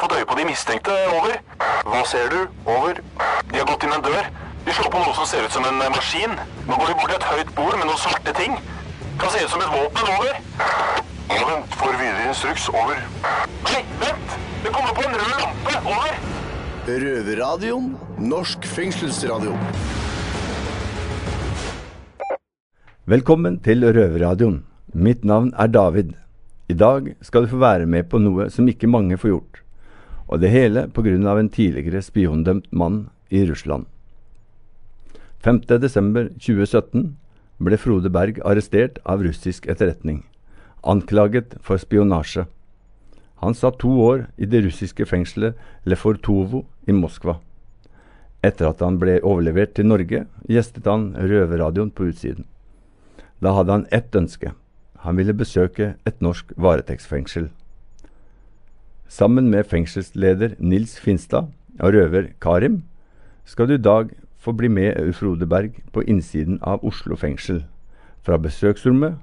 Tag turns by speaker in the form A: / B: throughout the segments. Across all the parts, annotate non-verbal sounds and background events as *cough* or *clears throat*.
A: fått øye på de mistenkte. Over. Hva ser du? Over. De har gått inn en dør. De slår på noe som ser ut som en eh, maskin. Nå går de bort til et høyt bord med noen svarte ting. Kan se ut som et våpen. Over. Vent for videre instruks. Over. Nei, vent! Det kommer på en rød lampe. Over.
B: Røverradioen. Norsk fengselsradio.
C: Velkommen til Røverradioen. Mitt navn er David. I dag skal du få være med på noe som ikke mange får gjort. Og det hele pga. en tidligere spiondømt mann i Russland. 5.12.2017 ble Frode Berg arrestert av russisk etterretning. Anklaget for spionasje. Han satt to år i det russiske fengselet Lefortovo i Moskva. Etter at han ble overlevert til Norge, gjestet han Røverradioen på utsiden. Da hadde han ett ønske. Han ville besøke et norsk varetektsfengsel. Sammen med fengselsleder Nils Finstad og røver Karim skal du i dag få bli med Frode Berg på innsiden av Oslo fengsel. Fra besøksrommet,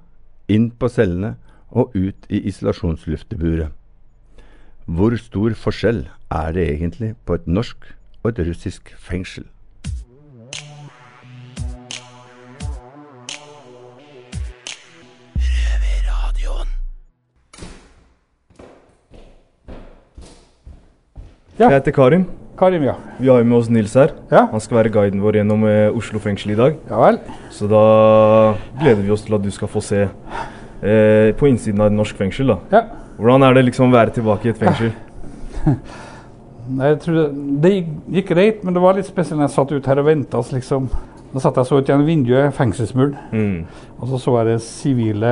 C: inn på cellene og ut i isolasjonslufteburet. Hvor stor forskjell er det egentlig på et norsk og et russisk fengsel?
D: Jeg heter Karim.
E: Karim, ja.
D: Vi har jo med oss Nils her.
E: Ja.
D: Han skal være guiden vår gjennom eh, Oslo fengsel i dag.
E: Ja vel.
D: Så da gleder vi oss til at du skal få se eh, på innsiden av et norsk fengsel. da.
E: Ja.
D: Hvordan er det liksom å være tilbake i et fengsel?
E: Nei, jeg tror det, det gikk- gikk greit, men det var litt spesielt når jeg satt ut her og venta. Liksom. Da satt jeg så ut gjennom vinduet, fengselsmuren,
D: Mm.
E: og så så jeg det sivile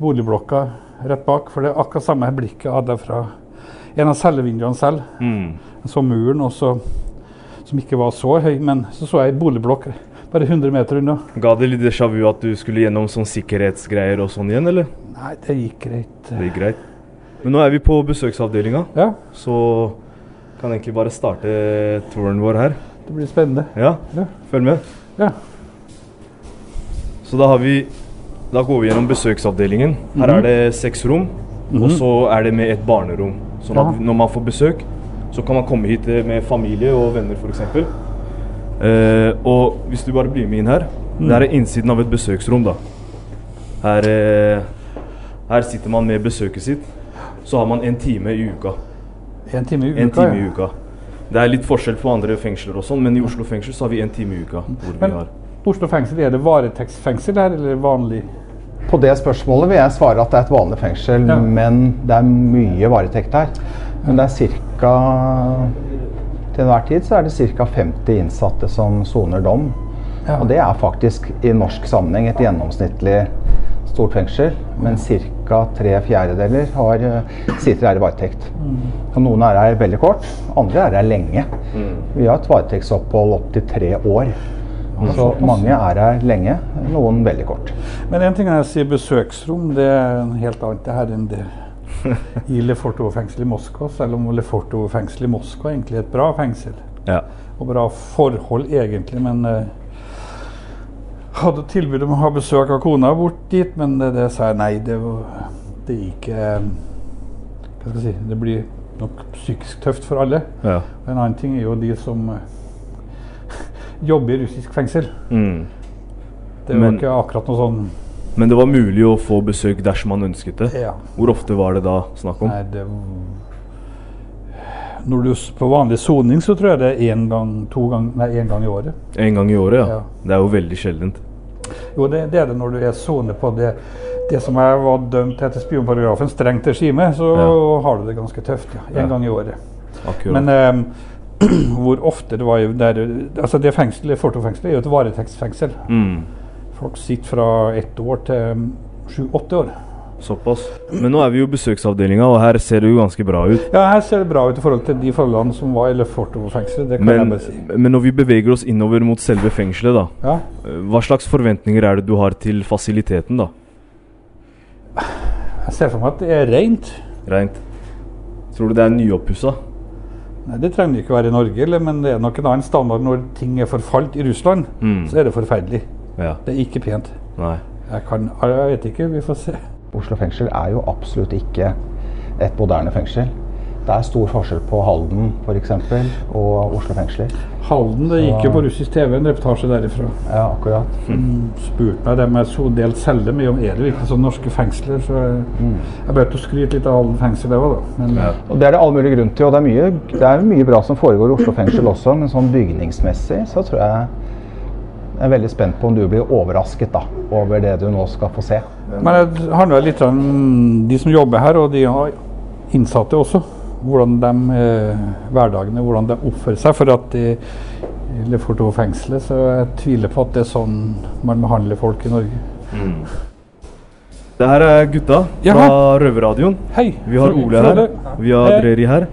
E: boligblokka rett bak. For det er akkurat samme blikket jeg hadde fra en av cellevinduene selv.
D: Mm.
E: Jeg så muren, og så, som ikke var så høy, men så så jeg ei boligblokk bare 100 meter unna.
D: *laughs* Ga det litt déjà vu at du skulle gjennom sånn sikkerhetsgreier og sånn igjen, eller?
E: Nei, det gikk greit.
D: Det gikk greit. Men nå er vi på besøksavdelinga,
E: Ja,
D: så kan egentlig bare starte touren vår her.
E: det blir spennende.
D: Ja,
E: Ja.
D: følg med.
E: Ja.
D: Så da har vi Da går vi gjennom besøksavdelingen. Her
E: Mhm.
D: er det seks rom, og så er det med et barnerom. Sånn at
E: Ja.
D: når man får besøk, så kan man komme hit eh, med familie og venner, f.eks. Eh, og hvis du bare blir med inn her
E: Mm.
D: Det her er innsiden av et besøksrom, da. Her, eh, her sitter man med besøket sitt. Så har man en time i uka.
E: En time i uka.
D: En time i
E: ja.
D: uka. Det er litt forskjell på andre fengsler og sånn, men i Oslo fengsel så har vi en time i uka. Hvor vi
E: Men-
D: har.
E: Oslo fengsel, er det varetektsfengsel her, eller vanlig?
F: På det spørsmålet vil jeg svare at det er et vanlig fengsel,
E: Ja.
F: men det er mye varetekt her. Men det er ca. Til enhver tid så er det ca. 50 innsatte som soner dom. Og det er faktisk i norsk sammenheng et gjennomsnittlig stort fengsel. Men ca. tre fjerdedeler har, eh, sitter her i varetekt. Og noen er her veldig kort, andre er her lenge. Vi har et varetektsopphold opptil tre år. Så mange er her lenge, noen veldig kort.
E: Men en ting er å si besøksrom, det er en helt annet det her enn det
D: *laughs*
E: i Lefortovo-fengselet i Moskva. Selv om Lefortovo-fengselet i Moskva egentlig er et bra fengsel.
D: Ja.
E: Og bra forhold egentlig, men eh, hadde tilbud om å ha besøk av kona bort dit, men det, det sa jeg nei, det, var- det er ikke eh, Hva skal jeg si Det blir nok psykisk tøft for alle.
D: ja.
E: En annen ting er jo de som eh, *laughs* jobber i russisk fengsel.
D: Mm.
E: Det var
D: Men-
E: ikke akkurat noe sånn
D: Men det var mulig å få besøk dersom man ønsket det.
E: ja.
D: Hvor ofte var det da snakk om?
E: Nei, det Når du s- på vanlig soning, så tror jeg det er én gang, to gang, nei, en gang i året.
D: En gang i året, ja.
E: Ja.
D: Det er jo veldig sjeldent.
E: Jo, det, det er det når du er sone på det Det som jeg var dømt etter spionparagrafen, strengt regime, så
D: Ja.
E: har du det ganske tøft. ja.
D: Ja.
E: En gang i året.
D: Akkurat.
E: Men eh, *clears throat* hvor ofte det var jo der Altså, det fengselet, Fortofengselet, er jo et varetektsfengsel.
D: mm.
E: Folk sitter fra ett år til sju-åtte år.
D: Såpass. Men nå er vi jo i besøksavdelinga, og her ser det jo ganske bra ut.
E: Ja, her ser det bra ut i forhold til de forholdene som var i Lefortovo-fengselet. Det kan jeg
D: Men,
E: bare si.
D: men når vi beveger oss innover mot selve fengselet, da. eh,
E: Ja.
D: Hva slags forventninger er det du har til fasiliteten, da?
E: Jeg ser for meg at det er rent.
D: Rent. Tror du det er nyoppussa?
E: Nei, Det trenger det ikke være i Norge, eller, men det er nok en annen standard når ting er forfalt i Russland.
D: Mm.
E: Så er det forferdelig.
D: Ja.
E: Det er ikke pent.
D: Nei.
E: Jeg kan Jeg vet ikke, vi får se.
F: Oslo fengsel er jo absolutt ikke et moderne fengsel. Det er stor forskjell på Halden f.eks. og Oslo fengsler.
E: Halden, det gikk jo på russisk TV en reportasje derifra.
F: Ja, akkurat.
E: Spurte meg dem jeg så delt celle mye om, er det virkelig sånn norske fengsler? Så jeg, jeg begynte å skryte litt av Halden fengsel, det var da. Men
F: Og Det er det all mulig grunn til. og Det er mye, det er mye bra som foregår i Oslo fengsel også, men sånn bygningsmessig så tror jeg jeg er veldig spent på om du blir overrasket da, over det du nå skal få se.
E: Men det handler litt om de som jobber her, og de innsatte også. Hvordan de eh, hverdagene, hvordan de oppfører seg. For at i i Lefortov fengselet, så jeg tviler på at det er sånn man behandler folk i Norge.
D: Det her er gutta fra
E: Jaha.
D: Røverradioen.
E: Hei!
D: Vi har
E: så-
D: Ole
E: så er
D: her.
E: det-
D: Vi har
E: Hei.
D: Dreri her.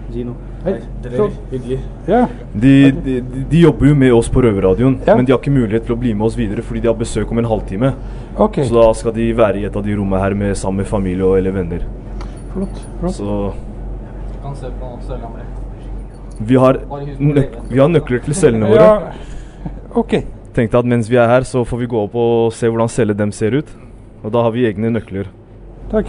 E: Hei. Så,
G: Hyggelig.
E: ja.
D: De, de, de- de jobber jo med oss på Røverradioen,
E: Ja.
D: men de har ikke mulighet til å bli med oss videre fordi de har besøk om en halvtime.
E: OK.
D: Så da skal de være i et av de rommene her med, sammen med familie og eller venner.
E: Flott. flott.
D: Så
G: Kan se på noen større gamle.
D: vi har, nøk vi har nøkler til cellene våre.
E: Ja. OK.
D: Tenkte at mens vi er her, så får vi gå opp og se hvordan cellene dem ser ut. Og da har vi egne nøkler.
E: Takk.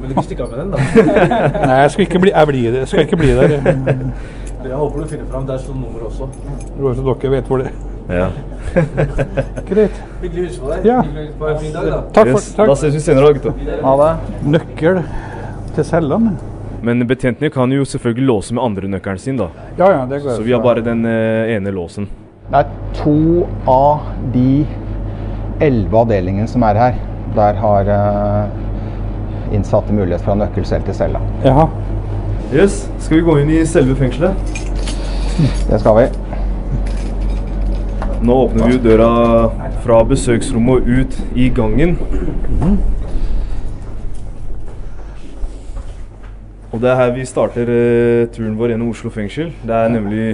G: Men du kan stikke av med den, da.
E: *laughs* Nei, jeg skal ikke bli, jeg blir, jeg skal ikke bli der. Jeg
G: Jeg håper du finner fram. Der står nummer også.
E: tror også dere vet hvor det er.
D: Ja.
E: *laughs* Greit.
G: Hyggelig å hilse på deg.
E: Ja.
G: Hyggelig å hilse på deg. Fin dag, da.
E: Takk for
D: Yes. Da
E: takk.
D: ses vi senere, da, gutta.
F: Ha det.
E: Nøkkel til cellene.
D: Men betjentene kan jo selvfølgelig låse med andre nøkkelen sin, da.
E: Ja, ja, det går
D: Så vi har bare den eh, ene låsen.
F: Det er to av de elleve avdelingene som er her. Der har eh, innsatte mulighet for å ha nøkkel selv til cella.
E: Jaha.
D: Yes, Skal vi gå inn i selve fengselet?
F: Det skal vi.
D: Nå åpner vi jo døra fra besøksrommet og ut i gangen. Og det er her vi starter eh, turen vår gjennom Oslo fengsel. Det er nemlig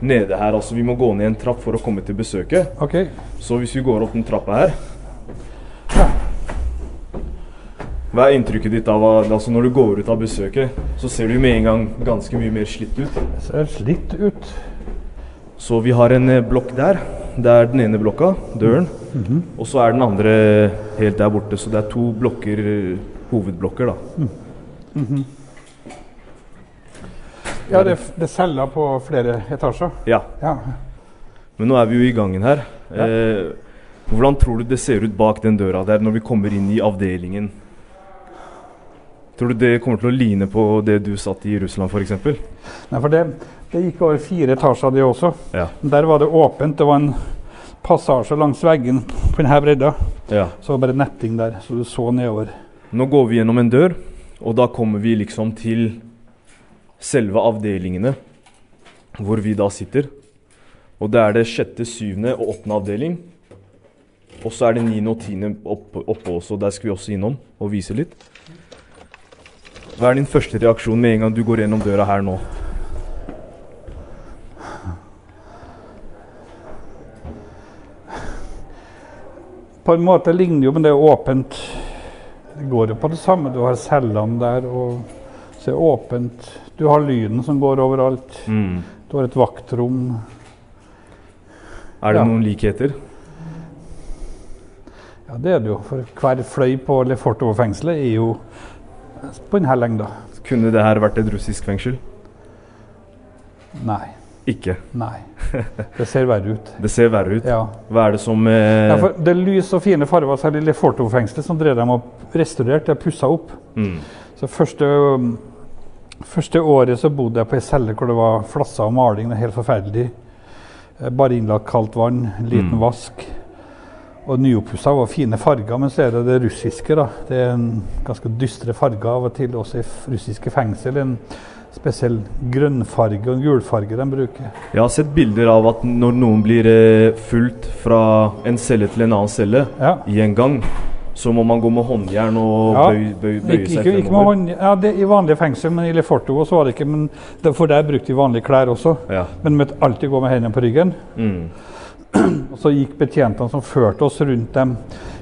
D: nede her. altså Vi må gå ned en trapp for å komme til besøket.
E: OK.
D: Så hvis vi går opp den trappa her Hva er inntrykket ditt av hva- altså når du går ut av besøket? Så ser du jo med en gang ganske mye mer slitt ut.
E: Ser slitt ut.
D: Så vi har en eh, blokk der. Det er den ene blokka, døren. Og så er den andre helt der borte. Så det er to blokker, eh, hovedblokker, da.
E: Ja, det, det er celler på flere etasjer.
D: Ja.
E: Ja.
D: Men nå er vi jo i gangen her. Eh, hvordan tror du det ser ut bak den døra der når vi kommer inn i avdelingen? Tror du det kommer til å line på det du satt i Russland, f.eks.?
E: Nei, for det, det gikk over fire etasjer, det også.
D: Ja.
E: Der var det åpent. Det var en passasje langs veggen på denne bredda.
D: ja.
E: Så var det bare netting der, så du så nedover.
D: Nå går vi gjennom en dør, og da kommer vi liksom til selve avdelingene hvor vi da sitter. Og det er det sjette, syvende og åttende avdeling. Og så er det niende og tiende oppe, oppe også. Der skal vi også innom og vise litt. Hva er din første reaksjon med en gang du går gjennom døra her nå?
E: På en måte ligner det jo, men det er åpent. Det går jo på det samme. Du har cellene der, og så er det åpent. Du har lyden som går overalt. Du har et vaktrom.
D: Er det
E: Ja.
D: noen likheter?
E: Ja, det er det jo. For hver fløy på Lefortovo-fengselet er jo på denne lengda.
D: Kunne det her vært et russisk fengsel?
E: Nei.
D: Ikke.
E: Nei. Det ser verre ut.
D: Det ser verre ut.
E: Ja.
D: Hva er det som eh,
E: ja for det er lys og fine farger, særlig i Lefortov-fengselet, som drev dem og restaurerte og pussa opp.
D: mm.
E: Så første, um, første året så bodde jeg på ei celle hvor det var flasser og maling. Det er helt forferdelig. Eh, Bare innlagt kaldt vann, liten
D: Mm.
E: vask. Og nyopppussa var fine farger, men så er det det russiske. da. Det er en ganske dystre farger av og til, også i f- russiske fengsel. En spesiell grønnfarge og en gulfarge de bruker.
D: Jeg har sett bilder av at når noen blir eh, fulgt fra en celle til en annen celle
E: Ja.
D: i en gang, så må man gå med håndjern og
E: Ja.
D: bøy, bøy, bøye
E: Ikke,
D: seg
E: ikke, ikke med
D: fremover.
E: hånd, ja, det, I vanlige fengsel, men i Leforto også var det ikke. Men det, for der brukte de vanlige klær også.
D: Ja. Mm.
E: Men måtte alltid gå med hendene på ryggen. *clears throat* Og så gikk betjentene som førte oss rundt dem,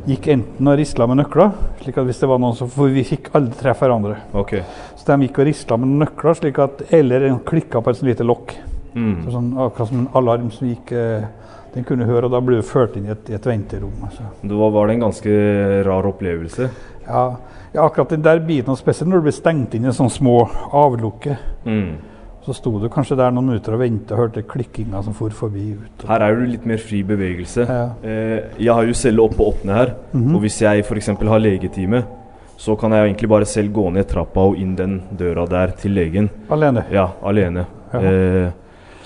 E: gikk enten og risla med nøkler. slik at hvis det var noen som, For vi fikk aldri treffe hverandre.
D: Ok.
E: Så de gikk og risla med nøkler,
D: Mm.
E: slik at, eller en klikka på et sånt lite lokk. Så sånn, akkurat som en alarm som gikk eh, Den kunne høre, og da ble vi ført inn i et, i et venterom. Altså.
D: Det var, var det en ganske rar opplevelse.
E: Ja, ja, akkurat den der biten, og spesielt når du ble stengt inn i sånne små avlukke, så sto du kanskje der noen minutter og ventet og hørte klikkinga som for forbi ut.
D: Her er det litt mer fri bevegelse.
E: Ja. Mhm.
D: Eh, jeg har jo celle oppe og åpne her. Og hvis jeg f.eks. har legetime, så kan jeg jo egentlig bare selv gå ned trappa og inn den døra der til legen.
E: Alene.
D: Ja, alene.
E: Ja.
D: Eh,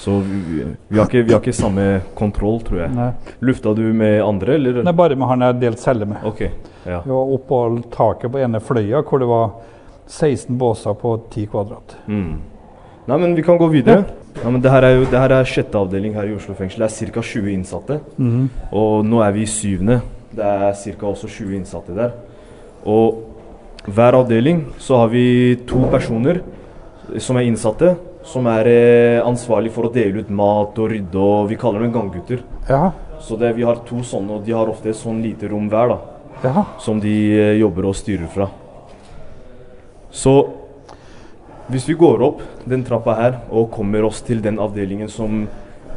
D: så vi, vi, har ikke, vi har ikke samme kontroll, tror jeg.
E: Nei.
D: Lufta du med andre, eller?
E: Nei, bare med han jeg delte celle med.
D: Ok. Ja.
E: Vi var oppå taket på ene fløya, hvor det var 16 båser på 10 kvadrat.
D: Nei, men vi kan gå videre. Ja, men det her er jo det her er sjette avdeling her i Oslo fengsel. Det er ca. 20 innsatte.
E: Mhm.
D: Og nå er vi i syvende. Det er ca. også 20 innsatte der. Og hver avdeling så har vi to personer som er innsatte, som er eh, ansvarlig for å dele ut mat og rydde og Vi kaller dem ganggutter.
E: Ja,
D: Så det, vi har to sånne, og de har ofte et sånn lite rom hver, da
E: ja.
D: som de eh, jobber og styrer fra. Så hvis vi går opp den trappa her og kommer oss til den avdelingen som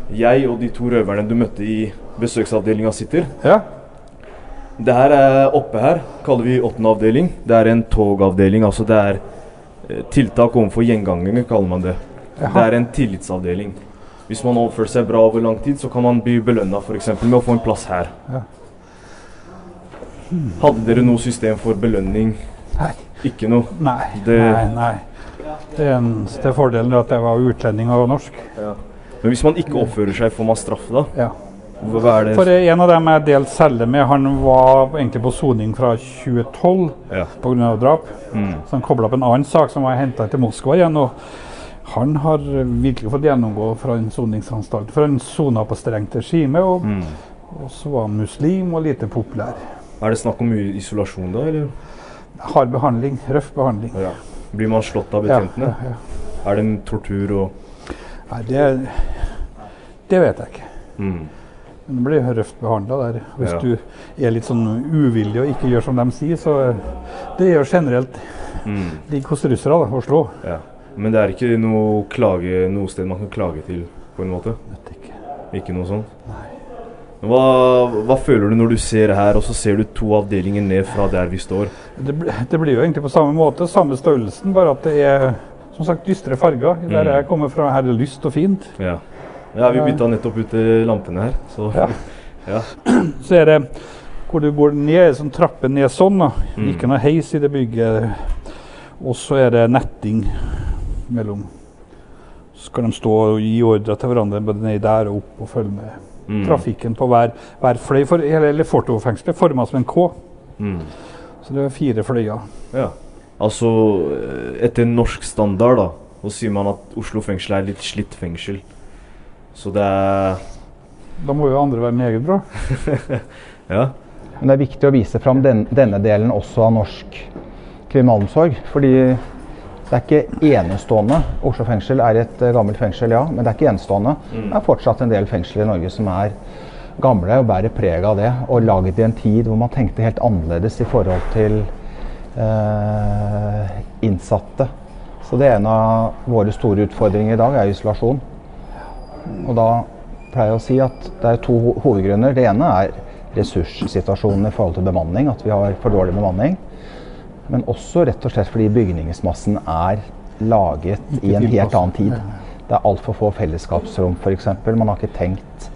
D: jeg og de to røverne du møtte i besøksavdelinga sitter
E: ja.
D: Det her er oppe her, kaller vi åttende avdeling. Det er en togavdeling, altså det er eh, tiltak overfor gjengangere, kaller man det. Det er en tillitsavdeling. Hvis man oppfører seg bra over lang tid, så kan man bli belønna f.eks. med å få en plass her. Hadde dere noe system for belønning?
E: Nei.
D: Ikke noe.
E: Nei,
D: Det-
E: nei, nei. Det eneste fordelen er at jeg var utlending og norsk.
D: Men hvis man ikke oppfører seg, får man straff da?
E: Ja.
D: Hva hva er
E: For
D: det?
E: en av dem jeg delte celle med, han var egentlig på soning fra 2012
D: Ja.
E: pga. drap. Så han kobla opp en annen sak som var henta til Moskva igjen. og han har virkelig fått gjennomgå fra en soningsanstalt. For han sona på strengt regime, og, og så var han muslim og lite populær.
D: Er det snakk om mye isolasjon da, eller?
E: Hard behandling. Røff behandling.
D: Blir man slått av betjentene? Er det en tortur og
E: Nei, det, det vet jeg ikke. Men du blir røft behandla der. Hvis
D: Ja.
E: du er litt sånn uvillig og ikke gjør som de sier, så eh, Det er jo generelt ligg hos russere da, å slå.
D: Ja. Men det er ikke noe, klage, noe sted man kan klage til, på en måte?
E: Vet ikke.
D: Ikke noe sånt? Men Hva, hva føler du når du ser her, og så ser du to avdelinger ned fra der vi står?
E: Det, bl- det blir jo egentlig på samme måte, samme størrelsen, bare at det er som sagt dystre farger. Der jeg kommer fra, her er det lyst og fint.
D: Ja, ja vi bytta nettopp ut eh, lampene her, så
E: Ja. Så er det hvor du går ned, sånn trappe ned sånn. da. Ikke noe heis i det bygget. Og så er det netting mellom Så kan de stå og gi ordre til hverandre både ned der og opp og følge med trafikken på hver, hver fløy. For hele hele Fortofengselet er forma som en K. Så det er fire fløyer.
D: ja. Altså, eh, etter norsk standard, da, så sier man at Oslo fengsel er litt slitt fengsel. Så det er
E: Da må jo andre være meget bra.
D: Ja.
F: Men det er viktig å vise fram den, denne delen også av norsk kriminalomsorg. Fordi det er ikke enestående. Oslo fengsel er et eh, gammelt fengsel, ja, men det er ikke enestående. Det er fortsatt en del fengsler i Norge som er gamle og bærer preg av det. Og laget i en tid hvor man tenkte helt annerledes i forhold til eh, innsatte. Så det er en av våre store utfordringer i dag, er isolasjon. Og da pleier jeg å si at det er to ho- hovedgrunner. Det ene er ressurssituasjonen i forhold til bemanning, at vi har for dårlig bemanning. Men også rett og slett fordi bygningsmassen er laget i en helt annen tid. Det er altfor få fellesskapsrom f.eks. Man har ikke tenkt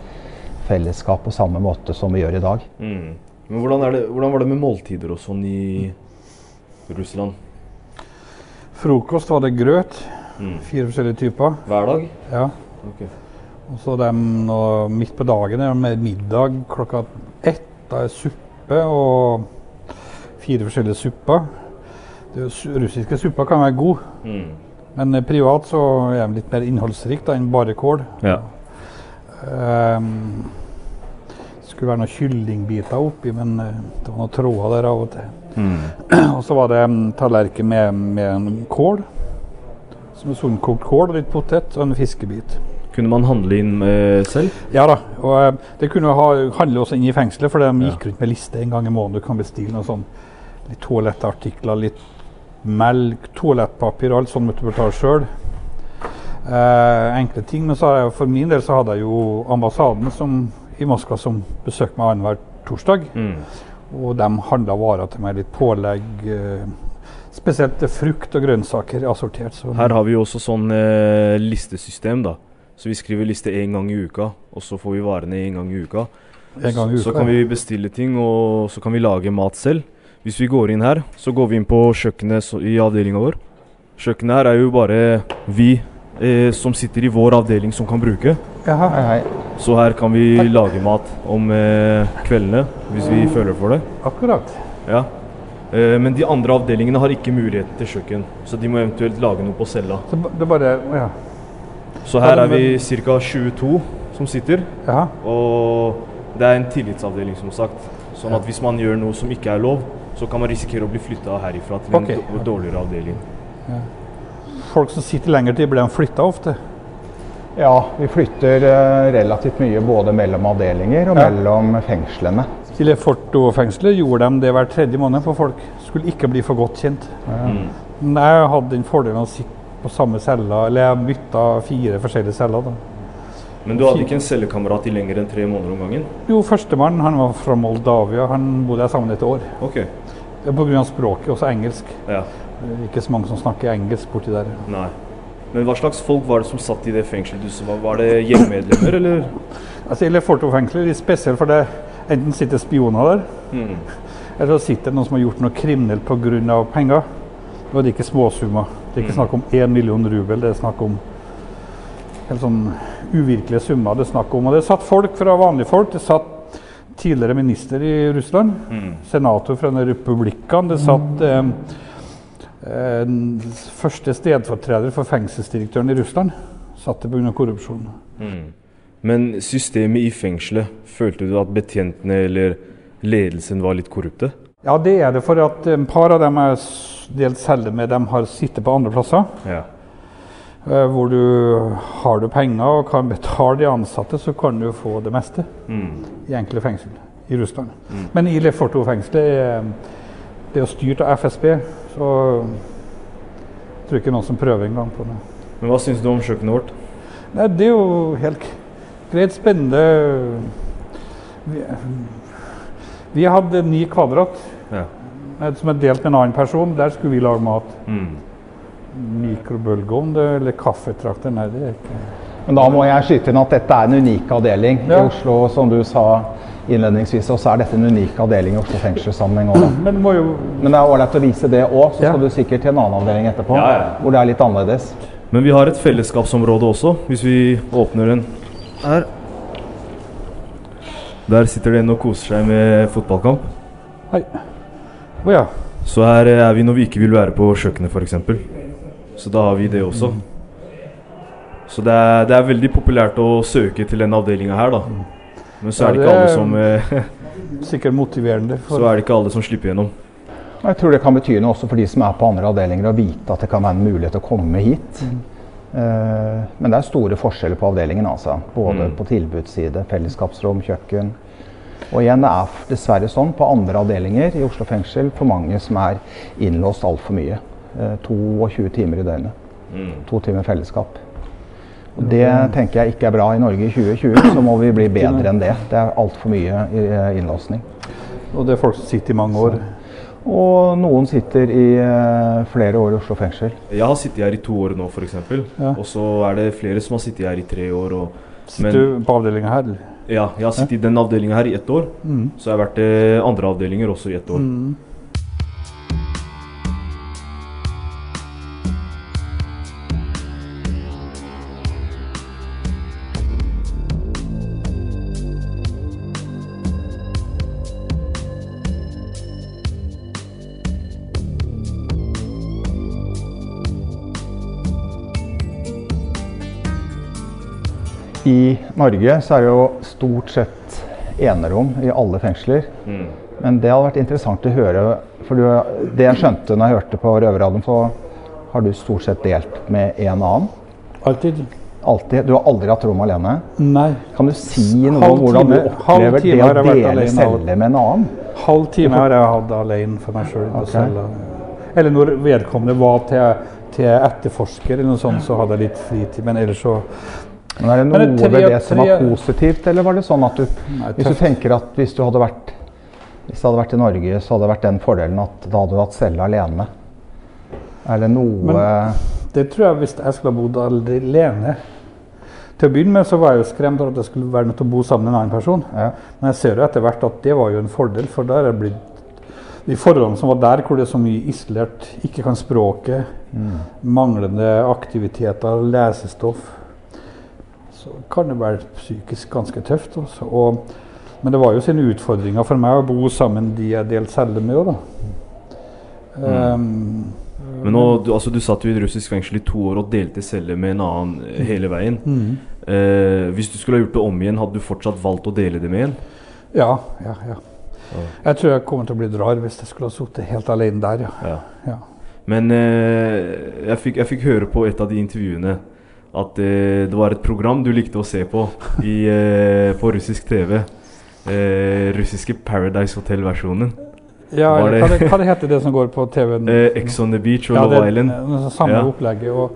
F: fellesskap på samme måte som vi gjør i dag.
D: Men hvordan, er det, hvordan var det med måltider og sånn i Russland?
E: Frokost var det grøt. Fire forskjellige typer.
D: Hver dag?
E: Ja.
D: Ok.
E: Og så dem nå, midt på dagen er det med middag klokka ett. Da er suppe og fire forskjellige supper. Det er jo su- russiske supper kan være gode, men eh, privat så er de litt mer innholdsrik da, enn bare kål.
D: Ja.
E: Ehm, skulle være noen kyllingbiter oppi, men eh, det var noen tråder der av og til. *clears throat* og så var det mm, tallerken med, med en kål, som er sunnkokt kål, litt potet og en fiskebit.
D: Kunne man handle inn eh, selv?
E: Ja da, og eh, det kunne ha, handle også inn i fengselet, for de gikk rundt med liste en gang i måneden. Du kan bestille noe sånn, litt toalettartikler, litt melk, toalettpapir og alt sånt måtte du betale sjøl. Eh, enkle ting. Men så har jeg, for min del så hadde jeg jo ambassaden som i Moskva som besøker meg annenhver torsdag.
D: Mm.
E: Og de handla varer til meg, litt pålegg. eh, Spesielt frukt og grønnsaker assortert. Så
D: Her har vi jo også sånn eh, listesystem, da. Så vi skriver liste én gang i uka, og så får vi varene én gang i uka.
E: en gang i uka.
D: Så kan vi bestille ting, og så kan vi lage mat selv. Hvis vi går inn her, så går vi inn på kjøkkenet så- i avdelinga vår. Kjøkkenet her er jo bare vi eh, som sitter i vår avdeling som kan bruke.
E: Jaha.
F: Hei, hei.
D: Så her kan vi lage mat om eh, kveldene, hvis vi føler for det.
E: Akkurat.
D: Ja. Eh, men de andre avdelingene har ikke muligheten til kjøkken, så de må eventuelt lage noe på cella.
E: Så ba- det er bare Å ja.
D: Så her er vi ca. 22 som sitter,
E: Jaha.
D: og det er en tillitsavdeling, som sagt. Sånn at hvis man gjør noe som ikke er lov, så kan man risikere å bli flytta herifra til en
E: Ok.
D: dår- dårligere avdeling.
E: Folk som sitter lenger til, blir de flytta ofte?
F: Ja, vi flytter eh, relativt mye både mellom avdelinger og
E: Ja.
F: mellom fengslene.
E: I Leforto-fengselet gjorde de det hver tredje måned, for folk skulle ikke bli for godt kjent. Men jeg hadde den fordelen å sitte på samme cella, eller jeg bytta fire forskjellige celler. da.
D: Men du hadde ikke en cellekamerat i lenger enn tre måneder om gangen?
E: Jo, førstemann han var fra Moldavia, han bodde jeg sammen med et år.
D: Ok.
E: Pga. språket, også engelsk.
D: Ja.
E: Det er Ikke så mange som snakker engelsk borti der.
D: Nei. Men hva slags folk var det som satt i det fengselet du så? Var- Var det gjengmedlemmer, eller?
E: Altså, I Leforto-fengselet er litt spesielt, for det enten sitter spioner der, eller så sitter det noen som har gjort noe kriminelt pga. penger. Og det er ikke småsummer. Det er ikke snakk om én million rubel, det er snakk om helt sånn uvirkelige summer. det er snakk om. Og det satt folk fra vanlige folk. Det satt tidligere minister i Russland, senator fra den republikken. Det satt eh, en første stedfortreder for fengselsdirektøren i Russland. Satt det pga. korrupsjon.
D: Men systemet i fengselet, følte du at betjentene eller ledelsen var litt korrupte?
E: Ja, det er det. For at et par av dem jeg s- delt celle med, dem har sittet på andre plasser.
D: Ja.
E: eh, Hvor du har du penger og kan betale de ansatte, så kan du få det meste. I enkle fengsel i Russland. Men i Leforto-fengselet er det er jo styrt av FSB, så jeg tror ikke noen som prøver engang på det.
D: Men hva syns du om kjøkkenet vårt?
E: Nei, det er jo helt k- greit spennende. Vi, vi hadde ni kvadrat
D: Ja.
E: eh, som er delt med en annen person. Der skulle vi lage mat.
D: Mm.
E: Mikrobølgeovn det- eller kaffetrakter, nei det er ikke
F: Men da må jeg skyte inn at dette er en unik avdeling i
E: Ja.
F: Oslo, som du sa innledningsvis. Og så er dette en unik avdeling i Oslo fengselssammenheng òg.
E: Men det må jo
F: Men det er ålreit å vise det òg, så
E: Ja.
F: skal du sikkert til en annen avdeling etterpå.
D: Ja, ja.
F: Hvor det er litt annerledes.
D: Men vi har et fellesskapsområde også, hvis vi åpner den her. Der sitter det en og koser seg med fotballkamp.
E: Hei. Å ja.
D: Så her eh, er vi når vi ikke vil være på kjøkkenet, f.eks. Så da har vi det også.
E: Mm.
D: Så det er, det er veldig populært å søke til den avdelinga her, da. Men så
E: Mm. Ja,
D: er det
E: det
D: ikke
E: er-
D: alle som, eh,
E: Sikkert motiverende.
D: *laughs* så
E: For,
D: er det ikke alle som slipper gjennom.
F: Og Jeg tror det kan bety noe også for de som er på andre avdelinger, å vite at det kan være en mulighet å komme hit. Eh, men det er store forskjeller på avdelingen, altså. Både på tilbudsside, fellesskapsrom, kjøkken. Og igjen, det er f- dessverre sånn på andre avdelinger i Oslo fengsel for mange som er innlåst altfor mye. Eh, 22 timer i døgnet. To timer fellesskap. Og det tenker jeg ikke er bra i Norge i 2020, så må vi bli bedre enn det. Det er altfor mye eh, innlåsning.
E: og det er folk som sitter i mange år.
F: Og noen sitter i eh, flere år i Oslo fengsel.
D: Jeg har sittet her i to år nå, f.eks.
E: Ja.
D: Og så er det flere som har sittet her i tre år. Og,
E: Sitter du på avdelinga her? eller?
D: Ja, jeg har sittet i den avdelinga her i ett år. Så jeg har vært i andre avdelinger også i ett år.
F: I Norge så er det jo stort sett enerom i alle fengsler.
E: Mm.
F: Men det hadde vært interessant å høre. For du, det jeg skjønte når jeg hørte på Røverradioen, så har du stort sett delt med en annen.
E: Alltid?
F: Alltid. Du har aldri hatt rom alene.
E: Nei.
F: Kan du si noe
E: Halv
F: om hvordan du
E: time- halv
F: opplever
E: time
F: det
E: har jeg
F: å
E: vært
F: dele
E: alene av-
F: celle med en annen?
E: Halv time har jeg hatt alene for meg sjøl. Eller når vedkommende var til, til etterforsker, eller noe sånt, så hadde jeg litt fritid. Men ellers så
F: Men er det noe
E: Men det er tre-
F: ved det som var
E: tre-
F: positivt, eller var det sånn at du Hvis du tenker at hvis du hadde vært Hvis det hadde vært i Norge, så hadde det vært den fordelen at da hadde du hatt celle alene. Er det noe
E: Men- Eh, Det tror jeg hvis jeg skulle ha bodd alene. Til å begynne med så var jeg jo skremt over at jeg skulle være nødt til å bo sammen med en annen person.
F: Ja.
E: Men jeg ser jo etter hvert at det var jo en fordel, for der er det blitt de forholdene som var der, hvor det er så mye isolert, ikke kan språket, manglende aktiviteter, lesestoff, så kan det være psykisk ganske tøft. Også. Og, men det var jo sine utfordringer for meg å bo sammen de jeg delte celle med. også, Da. Ehm,
D: Men nå, du, altså, du satt jo i et russisk fengsel i to år og delte celle med en annen eh, hele veien. Eh, hvis du skulle ha gjort det om igjen, hadde du fortsatt valgt å dele det med en?
E: Ja, ja, ja. Jeg tror jeg kommer til å bli rar hvis jeg skulle ha sittet helt alene der, ja.
D: Ja.
E: ja.
D: Men eh, jeg, fikk, jeg fikk høre på et av de intervjuene at eh, det var et program du likte å se på i, eh, på russisk TV. Eh, russiske Paradise Hotel-versjonen.
E: ja
D: Var det-
E: hva, det, hva det heter det som går på
D: *laughs*
E: TV-en?
D: Eh, Ex on the beach og
E: Ja,
D: Love
E: det-
D: Island.
E: det er samme
D: Ja.
E: opplegget. Og,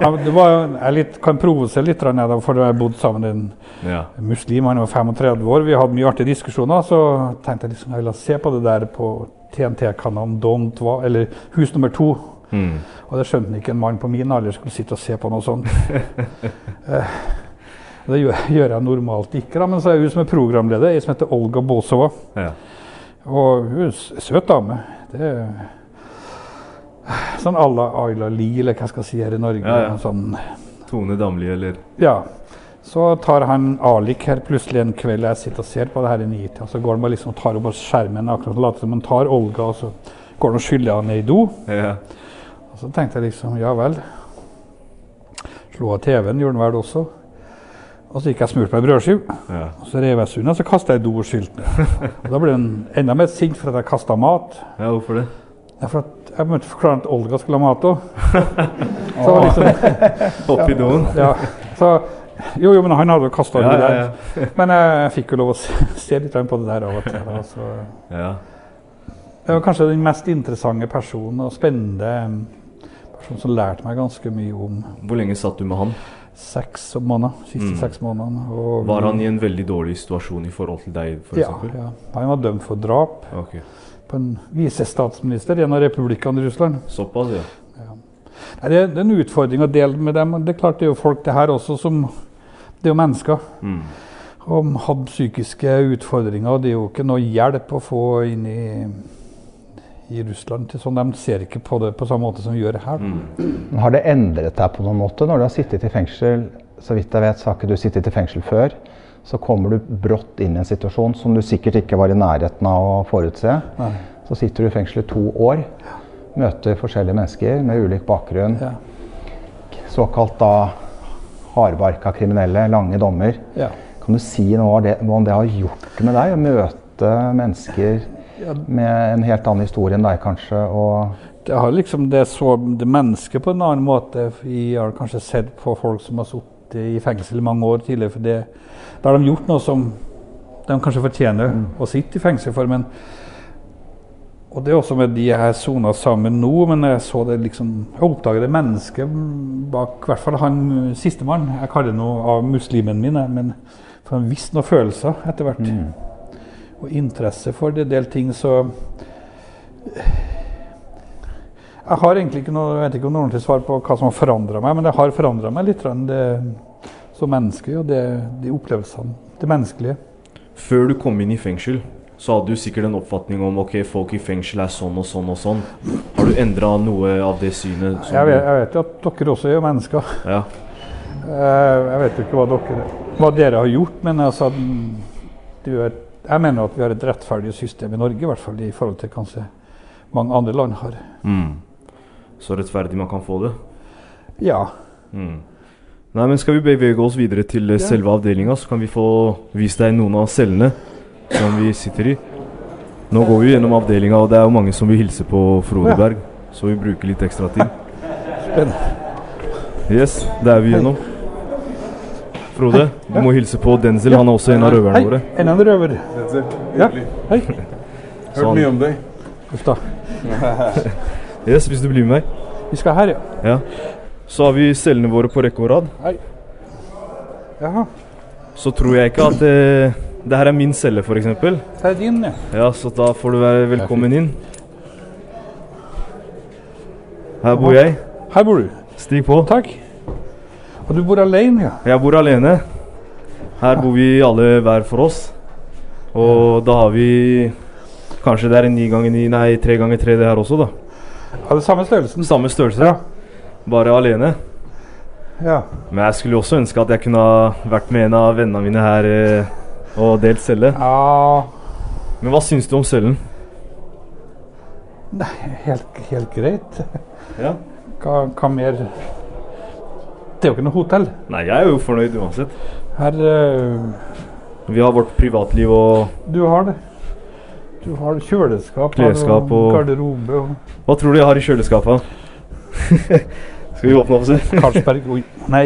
E: ja, men det var, jo- jeg er litt, kan provosere litt, grann, jeg, da, for jeg har bodd sammen med en
D: Ja.
E: muslim, han var 35 år. Vi hadde mye artige diskusjoner, så tenkte jeg liksom jeg ville se på det der på TNT-kanalen Don't Wa, eller Hus nummer to.
D: Mm.
E: Og det skjønte ikke en mann på min alder skulle sitte og se på
D: *laughs*
E: noe sånt. Eh, det gjør, gjør jeg normalt ikke, da, men så er hun som er programleder, ei som heter Olga Bolsova.
D: Ja.
E: Og hun er en s- søt dame. Det er sånn à la Ayla Lie, eller hva jeg skal si her i Norge.
D: Ja, ja.
E: og Sånn.
D: Tone Damli, eller
E: ja. Så tar han Alik her plutselig en kveld, jeg sitter og ser på det her i nitida, så går han bare liksom og tar opp av skjermen, akkurat som later som han tar Olga, og så går han og skyller henne ned i do.
D: ja.
E: Og så tenkte jeg liksom, ja vel. Slo av TV-en, gjorde den vel også. Og så gikk jeg og smurte meg en brødskiv.
D: Ja.
E: Og så rev jeg sunda, så kasta jeg doskiltene. Og da ble hun enda mer sint for at jeg kasta mat.
D: ja, hvorfor det?
E: Ja, for at jeg måtte forklare at Olga skulle ha mat òg. Så, det var liksom,
D: Opp i doen?
E: ja, så Jo, jo, men han hadde jo kasta
D: Ja,
E: det
D: ja,
E: der.
D: ja. *laughs*
E: Men jeg fikk jo lov å se, se litt på det der av og til. da, så...
D: Ja.
E: Jeg var kanskje den mest interessante personen og spennende eh, personen som lærte meg ganske mye om
D: Hvor lenge satt du med han?
E: seks måneder. Siste seks månedene. og-
D: Mm. Var han i en veldig dårlig situasjon i forhold til deg, f.eks.?
E: ja, ja. Han var dømt for drap
D: Ok.
E: på en visestatsminister i en av republikkene i Russland.
D: Såpass, ja.
E: Nei, det, det er en utfordring å dele med dem. og Det er klart det er jo folk det her også som Det er jo mennesker.
D: Mm.
E: Og de hadde psykiske utfordringer, og det er jo ikke noe hjelp å få inn i, i Russland. til sånn. De ser ikke på det på samme måte som vi gjør her.
F: Har det endret deg på noen måte når du har sittet i fengsel? Så vidt jeg vet, så har ikke du sittet i fengsel før. Så kommer du brått inn i en situasjon som du sikkert ikke var i nærheten av å forutse. Så sitter du i fengsel i to år, møter forskjellige mennesker med ulik bakgrunn.
E: Ja.
F: Såkalt da hardbarka kriminelle, lange dommer.
E: Ja.
F: Kan du si noe om det, om det har gjort med deg å møte mennesker med en helt annen historie enn deg, kanskje? Og
E: Jeg har liksom det så det mennesket på en annen måte. Jeg har kanskje sett på folk som har sittet i fengsel i mange år tidligere. for det, Da har de gjort noe som de kanskje fortjener å sitte i fengsel for. men og det er også med de jeg har sona sammen nå, men jeg så det liksom Jeg oppdaget det mennesket bak i hvert fall han eh, sistemann. Jeg kaller ham av muslimen min, jeg, men for han visste noen følelser etter hvert. Og interesse for en del ting, så jeg har egentlig ikke noe, jeg vet ikke om noe ordentlig svar på hva som har forandra meg, men det har forandra meg litt grann, det, som menneske og det, de opplevelsene. Det menneskelige.
D: Før du kom inn i fengsel, så hadde du sikkert en oppfatning om ok, folk i fengsel er sånn og sånn og sånn. Har du endra noe av det synet? som
E: Jeg vet,
D: du-
E: jeg vet jo at dere også er jo mennesker.
D: Ja.
E: Eh, Jeg vet jo ikke hva dere, hva dere har gjort, men altså mm, det er, Jeg mener at vi har et rettferdig system i Norge, i hvert fall i forhold til kanskje mange andre land har.
D: Mm. Så rettferdig man kan få det.
E: Ja.
D: Nei, men Skal vi bevege oss videre til eh, selve avdelinga, så kan vi få vist deg noen av cellene som vi sitter i. Nå går vi gjennom avdelinga, og det er jo mange som vil hilse på Frode Berg. Så vi bruker litt ekstra tid. Yes, det er vi gjennom. Frode, du må hilse på Denzil. Han er også en av røverne våre.
E: Enda en røver. Ja. Hei.
D: Sånn.
H: om deg.
E: Uff da.
D: Yes, hvis du blir med meg.
E: Vi skal her, ja.
D: Ja. Så har vi cellene våre på rekke og rad.
E: Hei. Jaha.
D: så tror jeg ikke at eh, det her er min celle, f.eks.
E: Det er din, ja.
D: Ja, så da får du være velkommen inn. Her bor jeg.
E: Her bor du.
D: Stig på.
E: Takk. Og du bor alene, ja.
D: Jeg bor alene. Her bor vi alle hver for oss. Og da har vi Kanskje det er en ni ganger ni, nei, tre ganger tre det her også, da.
E: Har du samme størrelsen?
D: Samme størrelse, bare alene.
E: Ja.
D: Men jeg skulle jo også ønske at jeg kunne ha vært med en av vennene mine her eh, og delt celle.
E: ja.
D: Men hva syns du om cellen?
E: Helt, helt greit.
D: Ja.
E: Hva, hva mer Det er jo ikke noe hotell.
D: Nei, jeg er jo fornøyd uansett.
E: Her eh,
D: Vi har vårt privatliv og
E: Du har det. Du har kjøleskap,
D: Klesskap
E: har
D: og-
E: du garderobe og
D: Hva tror du jeg har i kjøleskapet? *laughs* Skal vi åpne opp og se?
E: Karlsberg Oi. Nei,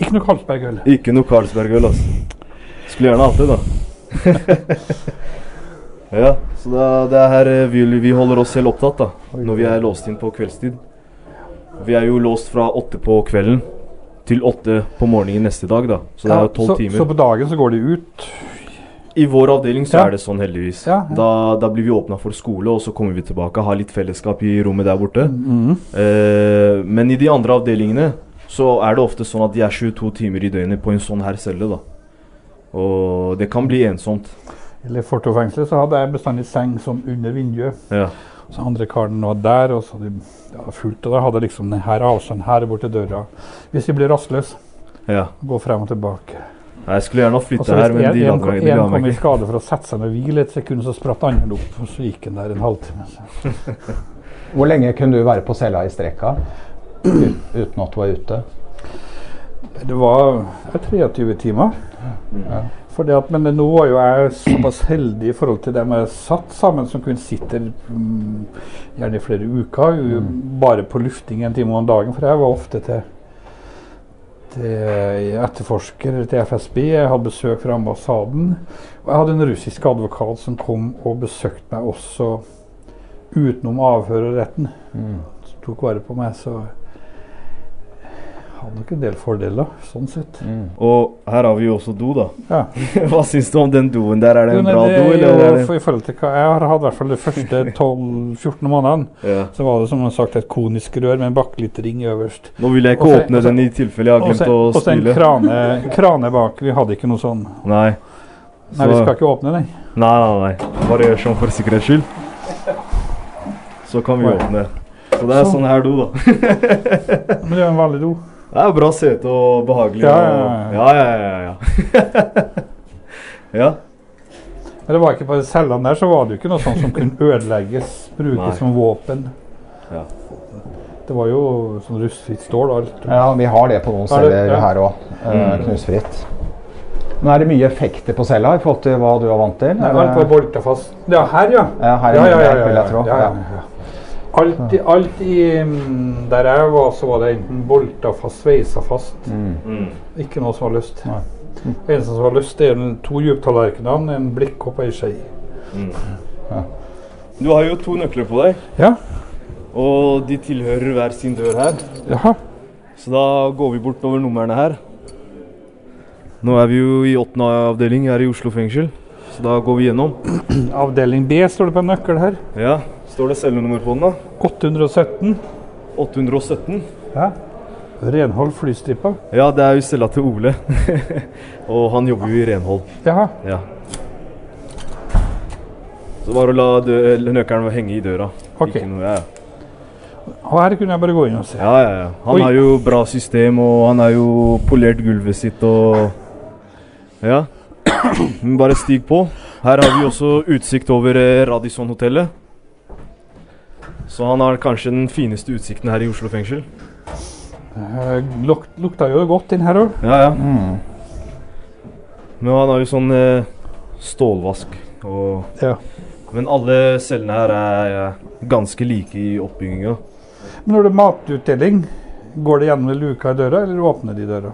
E: ikke noe Karlsberg-øl.
D: Ikke noe Carlsberg-øl, altså. Skulle gjerne hatt det, da. *laughs* ja, så da, det er her eh, vi, vi holder oss selv opptatt, da. Når vi er låst inn på kveldstid. Vi er jo låst fra åtte på kvelden til åtte på morgenen neste dag, da. Så det er jo
E: så,
D: tolv timer.
E: så på dagen så går de ut.
D: I vår avdeling så
E: Ja.
D: er det sånn, heldigvis.
E: Ja, ja.
D: Da, da blir vi åpna for skole, og så kommer vi tilbake. Har litt fellesskap i rommet der borte.
E: Mm-hmm.
D: Eh, men i de andre avdelingene så er det ofte sånn at de er 22 timer i døgnet på en sånn her celle, da. Og det kan bli ensomt.
E: Eller Fortofengselet så hadde jeg bestandig seng som under vinduet.
D: Ja.
E: Så andre karen var der, og så hadde de ja, fullt. Og da hadde jeg liksom denne avstanden her bort til døra. Hvis de blir rastløse,
D: ja.
E: gå frem og tilbake.
D: Jeg skulle gjerne ha
E: Og
D: flytta
E: så
D: her,
E: hvis
D: men
E: Altså, en,
D: de
E: en,
D: andre
E: kom-
D: de
E: en
D: la meg
E: kom i
D: ikke.
E: skade for å sette seg ned og hvile et sekund, så spratt andre opp, og så gikk han der en halvtime. Så.
F: Hvor lenge kunne du være på cella i streka ut- uten at du var ute?
E: Det var det er 23 timer. Fordi at, men nå var jo jeg såpass heldig i forhold til dem jeg satt sammen, som kunne sitte mm, gjerne i flere uker, jo, bare på lufting en time om dagen. For jeg var ofte til, til etterforsker til FSB, jeg hadde besøk fra ambassaden. Og jeg hadde en russisk advokat som kom og besøkte meg også utenom avhør og retten. Tok vare på meg, så hadde nok en del fordeler, sånn sett.
D: Og her har vi jo også do, da. *laughs*
E: Ja.
D: Hva syns du om den doen der? Er det
E: Jo,
D: en
E: nei,
D: bra
E: det
D: do,
E: er
D: eller?
E: jo
D: Er det?
E: eh, for- I forhold til hva jeg har hatt, i hvert fall de første
D: *laughs*
E: 12-14 månedene,
D: Ja.
E: så var det som sagt et konisk rør med en baklyttering øverst.
D: Nå vil jeg ikke
E: Også-
D: åpne den i tilfelle jeg har
E: Og så
D: glemt å
E: og så en
D: spyle.
E: krane, krane bak. Vi hadde ikke noe sånn.
D: Nei.
E: Nei, vi skal ikke åpne den.
D: Nei, nei, nei. Bare gjør sånn for sikkerhets skyld. Så kan vi
E: Oi.
D: åpne. Så det er
E: Sånn.
D: sånn her do, da.
E: Men det er jo en vanlig do.
D: Det er jo bra sete og behagelig.
E: Ja,
D: og- ja, ja. ja, ja, *laughs* ja. ja.
E: Men det var ikke på de cellene der, så var det jo ikke noe sånt som kunne ødelegges,
D: Nei.
E: brukes som våpen.
D: Ja.
E: Det var jo sånn rustfritt stål og alt.
F: Ja, vi har det på noen
E: Har du-
F: celler
E: ja. Mm.
F: her òg. Knusfritt. Men er det mye effekter på cella i forhold til hva du er vant til?
E: Nei,
F: eller?
E: alt var bolta fast. Ja, her, ja.
F: Ja, her er
E: ja, ja,
F: mye
E: ja,
F: effekt, vil jeg tro.
E: ja, ja, ja. Alt, i, alt i mm, Der jeg var, så var det enten bolta fast, sveisa fast.
D: Mm.
E: Ikke noe som var løst. Det eneste som var løst, det er en- to djuptallerkener, en blikkopp og ei skje.
D: Du har jo to nøkler på deg,
E: Ja.
D: og de tilhører hver sin dør her.
E: Jaha.
D: Så da går vi bortover numrene her. Nå er vi jo i åttende avdeling her i Oslo fengsel, så da går vi gjennom.
E: Avdeling B står det på en nøkkel her.
D: Ja, Står det cellenummer på den, da?
E: 817.
D: 817.
E: Ja. Renhold flystripa.
D: Ja, det er jo cella til Ole. *laughs* og han jobber jo i renhold.
E: Jaha.
D: Ja. Så bare å la dø eller nøkkelen henge i døra.
E: Ok.
D: Ikke noe, ja, ja.
E: Og her kunne jeg bare gå inn og se.
D: ja, ja, ja. Han
E: Oi.
D: har jo bra system, og han har jo polert gulvet sitt og Ja. Men bare stig på. Her har vi også utsikt over eh, Radisson-hotellet. Så han har kanskje den fineste utsikten her i Oslo fengsel.
E: Eh, luk, lukta jo godt inn her òg.
D: Ja, ja.
E: Mm.
D: Men han har jo sånn eh, stålvask og
E: Ja.
D: Men alle cellene her er eh, ganske like i oppbygginga.
E: Men når det er matutdeling, går det gjennom luka i døra, eller åpner de døra?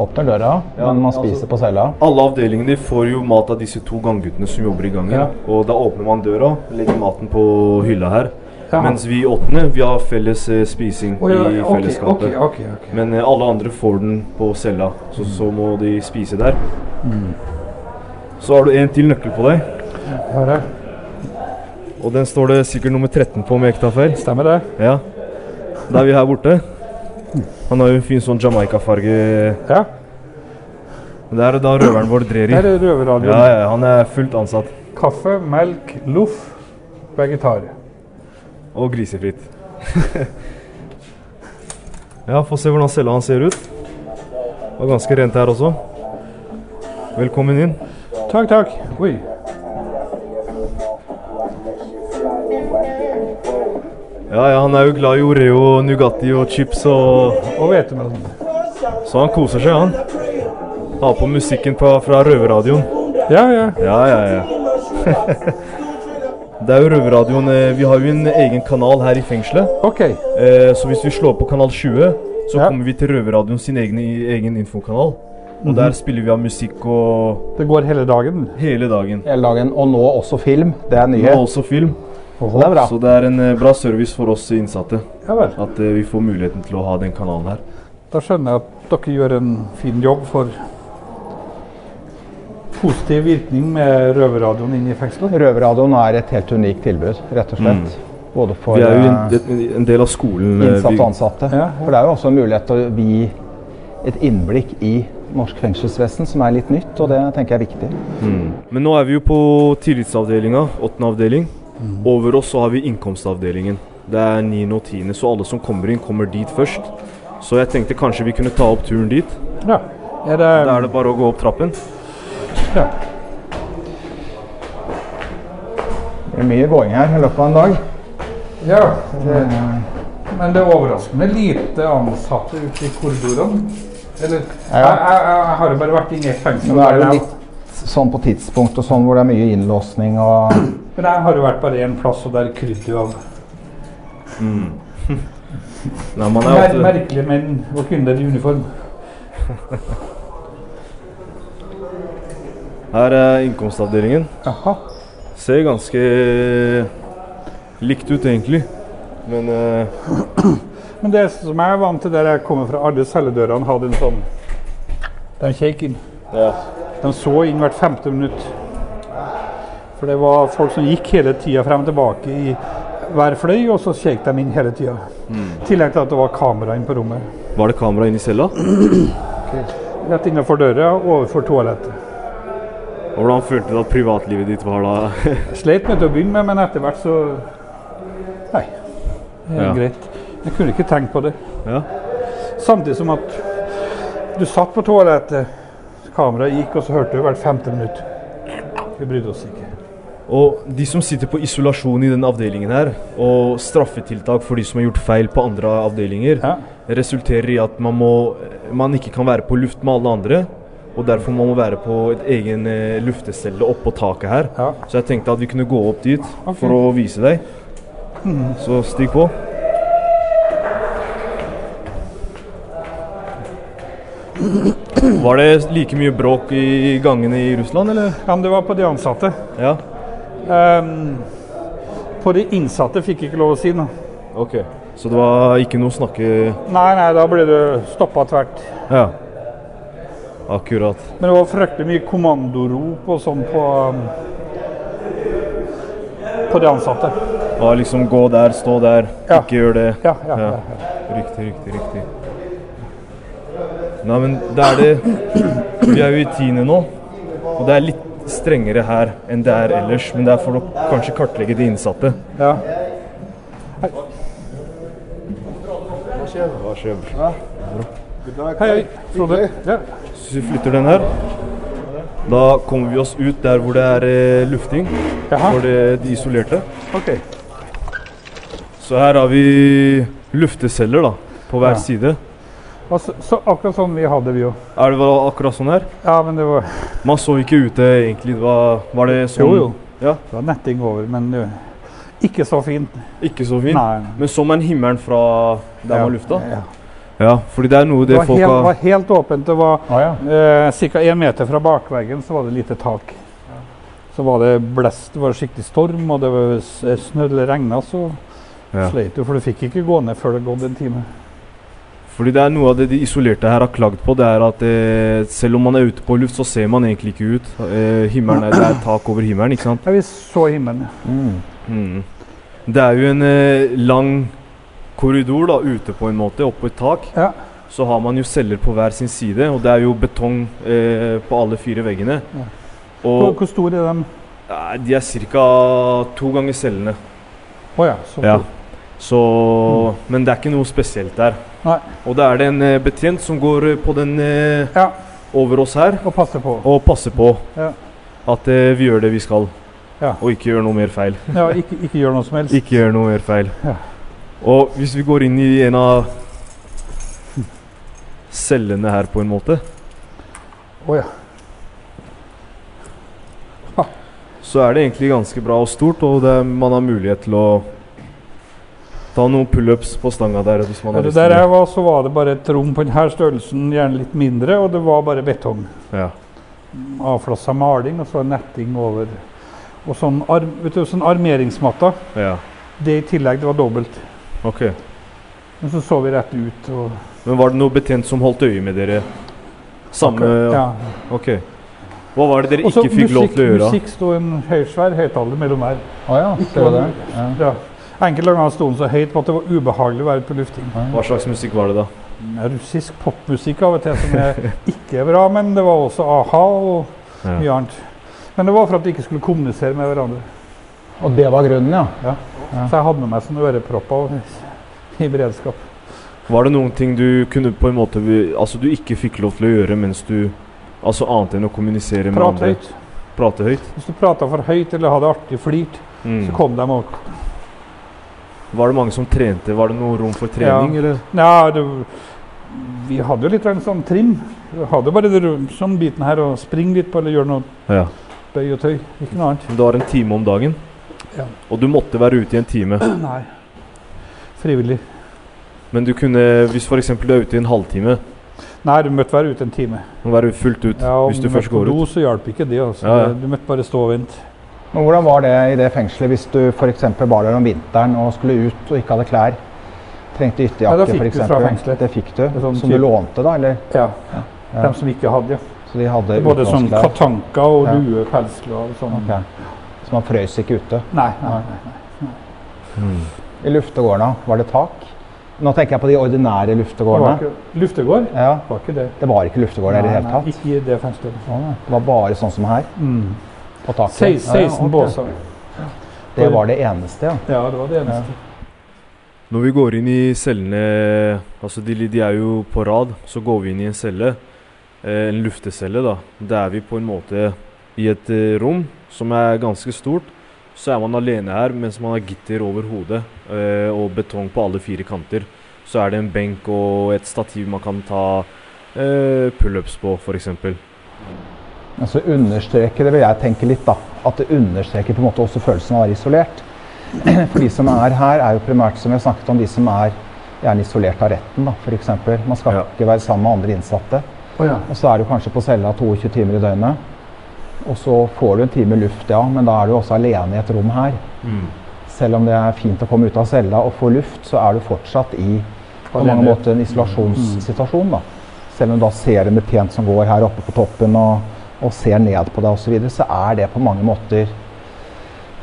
F: Åpner døra, men
E: altså-
F: man spiser på cella.
D: Alle avdelingene får jo mat av disse to gangguttene som jobber i gangen. Og da åpner man døra, legger maten på hylla her.
E: Ja.
D: Mens vi åttende, vi har felles eh, spising
E: Å, ja,
D: i
E: ok,
D: fellesskapet.
E: ok, Mm. ok, ok.
D: Men eh, alle andre får den på cella, så, så må de spise der.
E: Mm.
D: Så har du en til nøkkel på deg,
E: Jeg har det.
D: og den står det sikkert nummer 13 på om jeg ikke tar feil.
E: Stemmer det?
D: Ja. Da er vi her borte.
E: Mm.
D: Han har jo en fin sånn Jamaica-farge.
E: Ja.
D: Det er da røveren vår drer i.
E: Her er
D: Ja,
E: røverradioen.
D: ja, han er fullt ansatt.
E: Kaffe, melk, loff, vegetar.
D: Og grisefritt. *laughs* ja, få se hvordan cella hans ser ut. Det var ganske rent her også. Velkommen inn.
E: Takk, takk. Oi.
D: Ja, ja, han er jo glad i Oreo, og Nugatti og chips og
E: Og hvetemel.
D: Så han koser seg, han. Har på musikken på, fra røverradioen.
E: Ja, ja.
D: Ja, ja, *laughs* ja. Det er jo røverradioen. eh, Vi har jo en egen kanal her i fengselet.
E: Ok.
D: Eh, så hvis vi slår på kanal 20, så
E: Ja.
D: kommer vi til røverradioen sin egen, egen infokanal.
F: Mhm.
D: Og der spiller vi av musikk og
E: Det går hele dagen.
D: hele dagen.
F: Hele dagen, og nå også film. Det er
D: Og
F: nyhet.
D: også film.
F: Så det er bra.
D: Så det er en eh, bra service for oss innsatte.
E: Ja vel.
D: At eh, vi får muligheten til å ha den kanalen her.
E: Da skjønner jeg at dere gjør en fin jobb for positiv virkning med røverradioen inn i fengselet.
F: Røverradioen er et helt unikt tilbud, rett og slett.
E: Mm.
F: Både for
D: Vi er jo
F: eh,
D: en, en del av skolen. eh, vi-
F: innsatte og ansatte.
E: Ja, ja.
F: For det er jo også en mulighet til å gi et innblikk i norsk fengselsvesen, som er litt nytt, og det tenker jeg er viktig.
D: Men nå er vi jo på tillitsavdelinga, åttende avdeling.
F: Mhm.
D: Over oss så har vi innkomstavdelingen. Det er niende og tiende, så alle som kommer inn, kommer dit først. Så jeg tenkte kanskje vi kunne ta opp turen dit.
E: Ja. Er det,
D: Da er det bare å gå opp trappen.
E: ja.
F: Det blir mye gåing her i løpet av en dag.
E: ja det, men det er overraskende lite ansatte ute i korridorene. Eller jeg,
F: Ja.
E: jeg, jeg har jo bare vært inne i et fengsel.
F: Men det er
E: der
F: jo
E: jeg-
F: litt sånn på tidspunkt og sånn hvor det er mye innlåsning og
E: Men jeg har jo vært bare én plass, og der krydder jo av
D: Nei, man er
E: mer,
D: åtte.
E: merkelige menn og kvinner i uniform.
D: Her er innkomstavdelingen.
E: Jaha.
D: Ser ganske likt ut, egentlig. Men eh,
E: Men det som jeg er vant til der jeg kommer fra, alle celledørene hadde en sånn De kjekk inn.
D: ja.
E: De så inn hvert femte minutt. For det var folk som gikk hele tida frem og tilbake i hver fløy, og så kjekk de inn hele tida.
D: Mm.
E: I tillegg til at det var kamera inne på rommet.
D: Var det kamera inne i cella?
E: Rett innenfor døra, overfor toalettet.
D: Og hvordan følte du at privatlivet ditt var da? *laughs*
E: Sleit med til å begynne med, men etter hvert så Nei. Det er
D: Ja.
E: greit. Jeg kunne ikke tenkt på det.
D: Ja.
E: Samtidig som at du satt på toalettet, kameraet gikk, og så hørte du hvert femte minutt. Vi brydde oss ikke.
D: Og de som sitter på isolasjon i denne avdelingen her, og straffetiltak for de som har gjort feil på andre avdelinger,
E: Ja.
D: resulterer i at man, må, man ikke kan være på luft med alle andre. Og derfor man må være på et egen eh, luftecelle oppå taket her.
E: Ja.
D: Så jeg tenkte at vi kunne gå opp dit for å vise deg.
E: Mm.
D: Så stig
E: *clears throat*
D: på. Var det like mye bråk i gangene i Russland, eller?
E: ja, men det var på de ansatte.
D: Ja.
E: Ehm, på de innsatte fikk jeg ikke lov å si noe.
D: Ok, så det var ikke noe snakke
E: Nei, nei, da ble du stoppa tvert.
D: Ja. Akkurat.
E: Men det var fryktelig mye kommandorop og sånn på um, på de ansatte.
D: Ja, liksom gå der, stå der,
E: Ja.
D: ikke gjør det.
E: Ja, ja, ja. ja.
D: Riktig, riktig, riktig. Nei, men det er det Vi er jo i tiende nå, og det er litt strengere her enn det er ellers. Men det er for å kanskje kartlegge de innsatte.
E: Ja.
D: Hva skjer?
E: Hei, hei. Frode. Ja.
D: Hvis vi flytter den her, da kommer vi oss ut der hvor det er eh, lufting
E: Jaha.
D: for det, de isolerte.
E: Ok.
D: Så her har vi lufteceller da, på hver side.
E: Altså, så akkurat sånn vi hadde vi jo.
D: Er det vel akkurat sånn her?
E: Ja, men det var,
D: Man så ikke ute egentlig, det var, var det sånn?
E: Jo, jo.
D: Ja,
E: det var netting over, men det, ikke så fint.
D: ikke så fint.
E: Nei. nei.
D: Men så man himmelen fra der
E: Ja,
D: man lufta?
E: ja.
D: Ja, fordi det er noe
E: Det
D: det
E: var
D: folk
E: helt,
D: har... Ah,
E: var helt åpent. Det var
F: Å ja.
E: eh, ca. én meter fra bakveggen så var det lite tak. eh, Så var det blest, det var skikkelig storm, og det var s- snø eller regna, så
D: Ja.
E: Sleit jo, for du fikk ikke gå ned før det gått en time.
D: Fordi det er noe av det de isolerte her har klagd på, det er at eh, selv om man er ute på luft, så ser man egentlig ikke ut. Eh, himmelen er, det er tak over himmelen, ikke sant?
E: Ja, vi så himmelen. ja.
D: Mm. Det er jo en eh, lang korridor da, ute på en måte, oppå et tak.
E: Ja.
D: Så har man jo celler på hver sin side, og det er jo betong eh, på alle fire veggene.
E: Ja. Hvor,
D: Og
E: hvor stor er den?
D: eh, de er ca. to ganger cellene.
E: Å ja. Så
D: Ja.
E: stor.
D: Så, Men det er ikke noe spesielt der.
E: Nei.
D: Og da er det en eh, betjent som går eh, på den eh,
E: ja.
D: over oss her
E: Og passe på.
D: og passer på
E: Ja.
D: at eh, vi gjør det vi skal.
E: Ja.
D: Og ikke gjør noe mer
E: *laughs*
D: feil.
E: Ja, ikke, ikke gjør noe som helst.
D: Ikke gjør noe mer feil.
E: Ja.
D: Og hvis vi går inn i en av cellene her, på en måte,
E: Å ja.
D: så er det egentlig ganske bra og stort, og det er, man har mulighet til å ta noen pullups på stanga der. hvis man
E: Ja,
D: har
E: det
D: lyst til
E: der
D: det.
E: jeg var, så var det bare et rom på denne størrelsen, gjerne litt mindre, og det var bare betong.
D: Ja.
E: Avflassa maling, og så netting over. Og sånn, arm, vet du, sånn armeringsmatta.
D: ja.
E: Det i tillegg, det var dobbelt.
D: Ok.
E: Men så så vi rett ut. og...
D: Men var det noe betjent som holdt øye med dere? Samme
E: Ja.
D: Ok. Hva var det dere
E: Og så
D: ikke fikk lov
E: musikk-
D: til å gjøre?
E: Musikk sto en høysvær høyttaler mellom her.
F: Å ja, ser du det? Ja.
E: Ja. Enkelte ganger sto den så høyt på at det var ubehagelig å være på lufting.
D: Hva slags musikk var det, da?
E: Russisk popmusikk av og til som er ikke er bra, men det var også a-ha og
D: Ja.
E: mye annet. Men det var for at de ikke skulle kommunisere med hverandre.
F: Og det var grunnen, ja.
E: Så jeg hadde med meg sånne ørepropper og, i beredskap.
D: Var det noen ting du kunne på en måte Altså du ikke fikk lov til å gjøre mens du Altså annet enn å kommunisere med
E: Prat
D: andre?
E: høyt.
D: Prate høyt?
E: Hvis du prata for høyt eller hadde artig flirt, så
D: Mm.
E: kom de og
D: Var det mange som trente? Var det noe rom for trening, eller?
E: Ja, det, vi hadde jo litt grann sånn trim. Vi hadde bare det rom- sånn biten her og springe litt på eller gjøre noe
D: Ja.
E: bøy og tøy. Ikke noe annet.
D: Men Det var en time om dagen?
E: Ja.
D: Og du måtte være ute i en time?
E: Nei. Frivillig.
D: Men du kunne, hvis for eksempel du er ute i en halvtime,
E: Nei, du møtte være ute en time.
D: må være fullt ut
E: Ja, om
D: hvis du
E: møtte
D: først
E: på
D: går
E: do,
D: ut?
E: så hjalp ikke det. altså.
D: Ja, ja.
E: Du møtte bare stå og vente.
F: Men hvordan var det i det fengselet hvis du f.eks. var der om vinteren og skulle ut og ikke hadde klær? Trengte
E: Ja, da
F: ytterjakke,
E: fikk du
F: for
E: fra
F: eksempel.
E: fengselet.
F: Det fikk du.
E: er sånn
F: Som du
E: typ-
F: lånte, da? Eller?
E: Ja.
F: Ja.
E: De som ikke hadde. ja.
F: Så de hadde
E: Både sånn
F: utenlandsklær?
E: katanka og
F: Ja.
E: lue, pelsklær og sånn.
F: Ok. Så man frøys ikke ute?
E: Nei, nei, nei.
F: I luftegårdene, var det tak? Nå tenker jeg på de ordinære
E: Det var
F: luftegårdene.
E: ikke, luftegård
F: Ja,
E: var ikke det.
F: det var ikke luftegård der i det hele tatt.
E: Ikke i det fengselet.
F: Å, nei. Det var bare sånn som her,
E: Mm.
F: på taket.
E: 16,
F: Ja, ja, ok.
E: båser.
F: Det var det eneste, ja.
E: Ja, det var det eneste.
D: Når vi går inn i cellene Altså de, de er jo på rad, så går vi inn i en celle. eh, En luftecelle, da. Der er vi på en måte i et eh, rom som er ganske stort. Så er man alene her mens man har gitter over hodet eh, og betong på alle fire kanter. Så er det en benk og et stativ man kan ta eh, pullups på, f.eks.
F: Men så Altså, understreker det, vil jeg tenke litt, da, at det understreker på en måte også følelsen av å være isolert. *clears throat* For de som er her, er jo primært, som vi har snakket om, de som er gjerne isolert av retten, da, f.eks. Man skal
D: Ja.
F: ikke være sammen med andre innsatte.
E: Å ja.
F: Og så er du kanskje på cella 22 timer i døgnet. Og så får du en time luft, ja, men da er du også alene i et rom her. Selv om det er fint å komme ut av cella og få luft, så er du fortsatt i på mange
E: Alene.
F: måter en isolasjonssituasjon. da. Selv om du da ser en betjent som går her oppe på toppen og, og ser ned på deg osv., så, videre, så er det på mange måter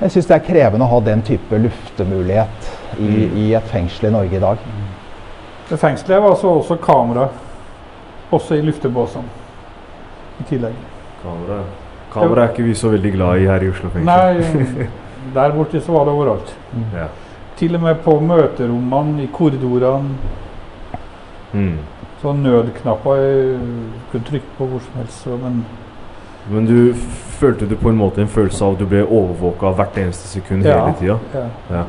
F: Jeg syns det er krevende å ha den type luftemulighet i, i et fengsel i Norge i dag.
E: Ved fengselet var så også kamera, også i luftebåsene. I tillegg.
D: Kamera. Kamera er ikke vi så veldig glad i her i Oslo
F: *laughs*
D: fengsel.
E: Nei, der borte så var det overalt.
D: Ja.
E: Til og med på møterommene, i korridorene.
D: Mm.
E: Så Sånn nødknapper jeg kunne trykke på hvor som helst. så- Men
D: Men du f- følte du på en måte en følelse av at du ble overvåka hvert eneste sekund
E: Ja.
D: hele tida?
E: ja.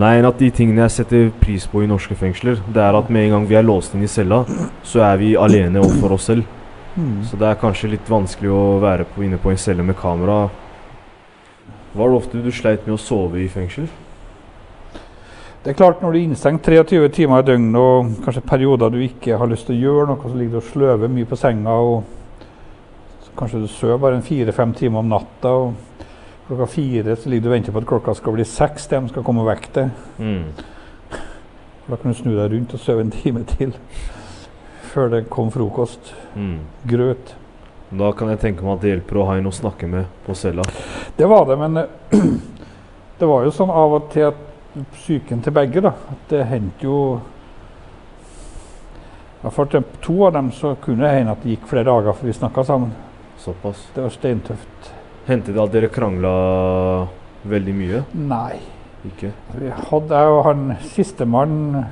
D: Nei, en av de tingene jeg setter pris på i norske fengsler, det er at med en gang vi er låst inn i cella, så er vi alene overfor oss selv. Så det er kanskje litt vanskelig å være på, inne på en celle med kamera. Var det ofte du sleit med å sove i fengsel?
E: Det er klart, når du er innestengt 23 timer i døgnet, og kanskje perioder du ikke har lyst til å gjøre noe, så ligger du og sløver mye på senga, og så kanskje du sover bare en fire-fem timer om natta. og Klokka fire så ligger du og venter på at klokka skal bli seks til de skal komme vekk til.
D: Hmm.
E: Da kan du snu deg rundt og sove en time til før det kom frokost. Grøt.
D: Hmm. Da kan jeg tenke meg at det hjelper å ha en å snakke med på cella.
E: Det var det, men eh, *clears throat* det var jo sånn av og til at psyken til begge, da. At det hendte jo I hvert fall til to av dem så kunne det hende at det gikk flere dager før vi snakka sammen.
D: Såpass.
E: Det var steintøft.
D: Hendte det at dere krangla veldig mye?
E: Nei.
D: Ikke?
E: Vi hadde, jeg og han sistemann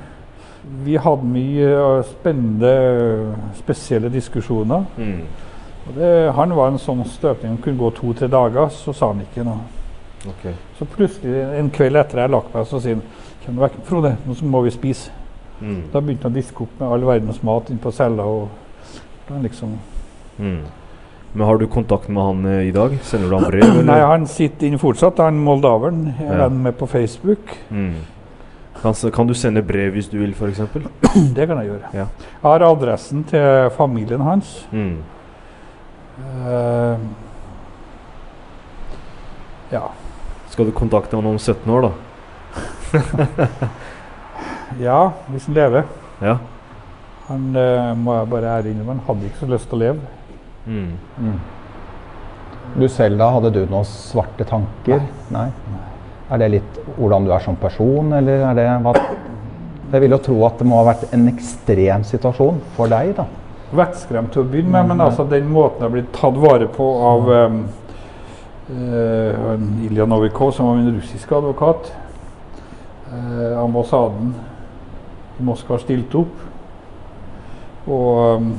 E: Vi hadde mye eh, spennende, spesielle diskusjoner.
D: Mm.
E: Og det, han var en sånn støpning som kunne gå to-tre dager, så sa han ikke noe.
D: Ok.
E: Så plutselig en kveld etter jeg har lagt meg, så sier han Kjem du vekk, Frode, nå så må vi spise.
D: Mm.
E: Da begynte han å diske opp med all verdens mat inne på cella. og han liksom...
D: Mm. Men har du kontakt med han eh, i dag? Sender du han brev, eller?
E: Nei, han sitter inne fortsatt, han moldaveren. Jeg er
D: Ja.
E: venn med på Facebook.
D: Mm. Kan, s- kan du sende brev hvis du vil, f.eks.?
E: Det kan jeg gjøre.
D: Ja.
E: Jeg har adressen til familien hans.
D: Mm.
E: Eh, ja.
D: Skal du kontakte han om 17 år, da?
E: ja, hvis han lever.
D: Ja.
E: Han eh, må jeg bare ære innrømme, han hadde ikke så lyst til å leve.
D: Mm.
F: Du selv, da? Hadde du noen svarte tanker? Nei. Er det litt hvordan du er som person, eller er det hva Jeg vil jo tro at det må ha vært en ekstrem situasjon for deg, da.
E: vettskremt til å begynne med, men altså den måten jeg ble tatt vare på av um, Ilja Novikov, som var min russiske advokat eh, Ambassaden i Moskva stilte opp. Og um,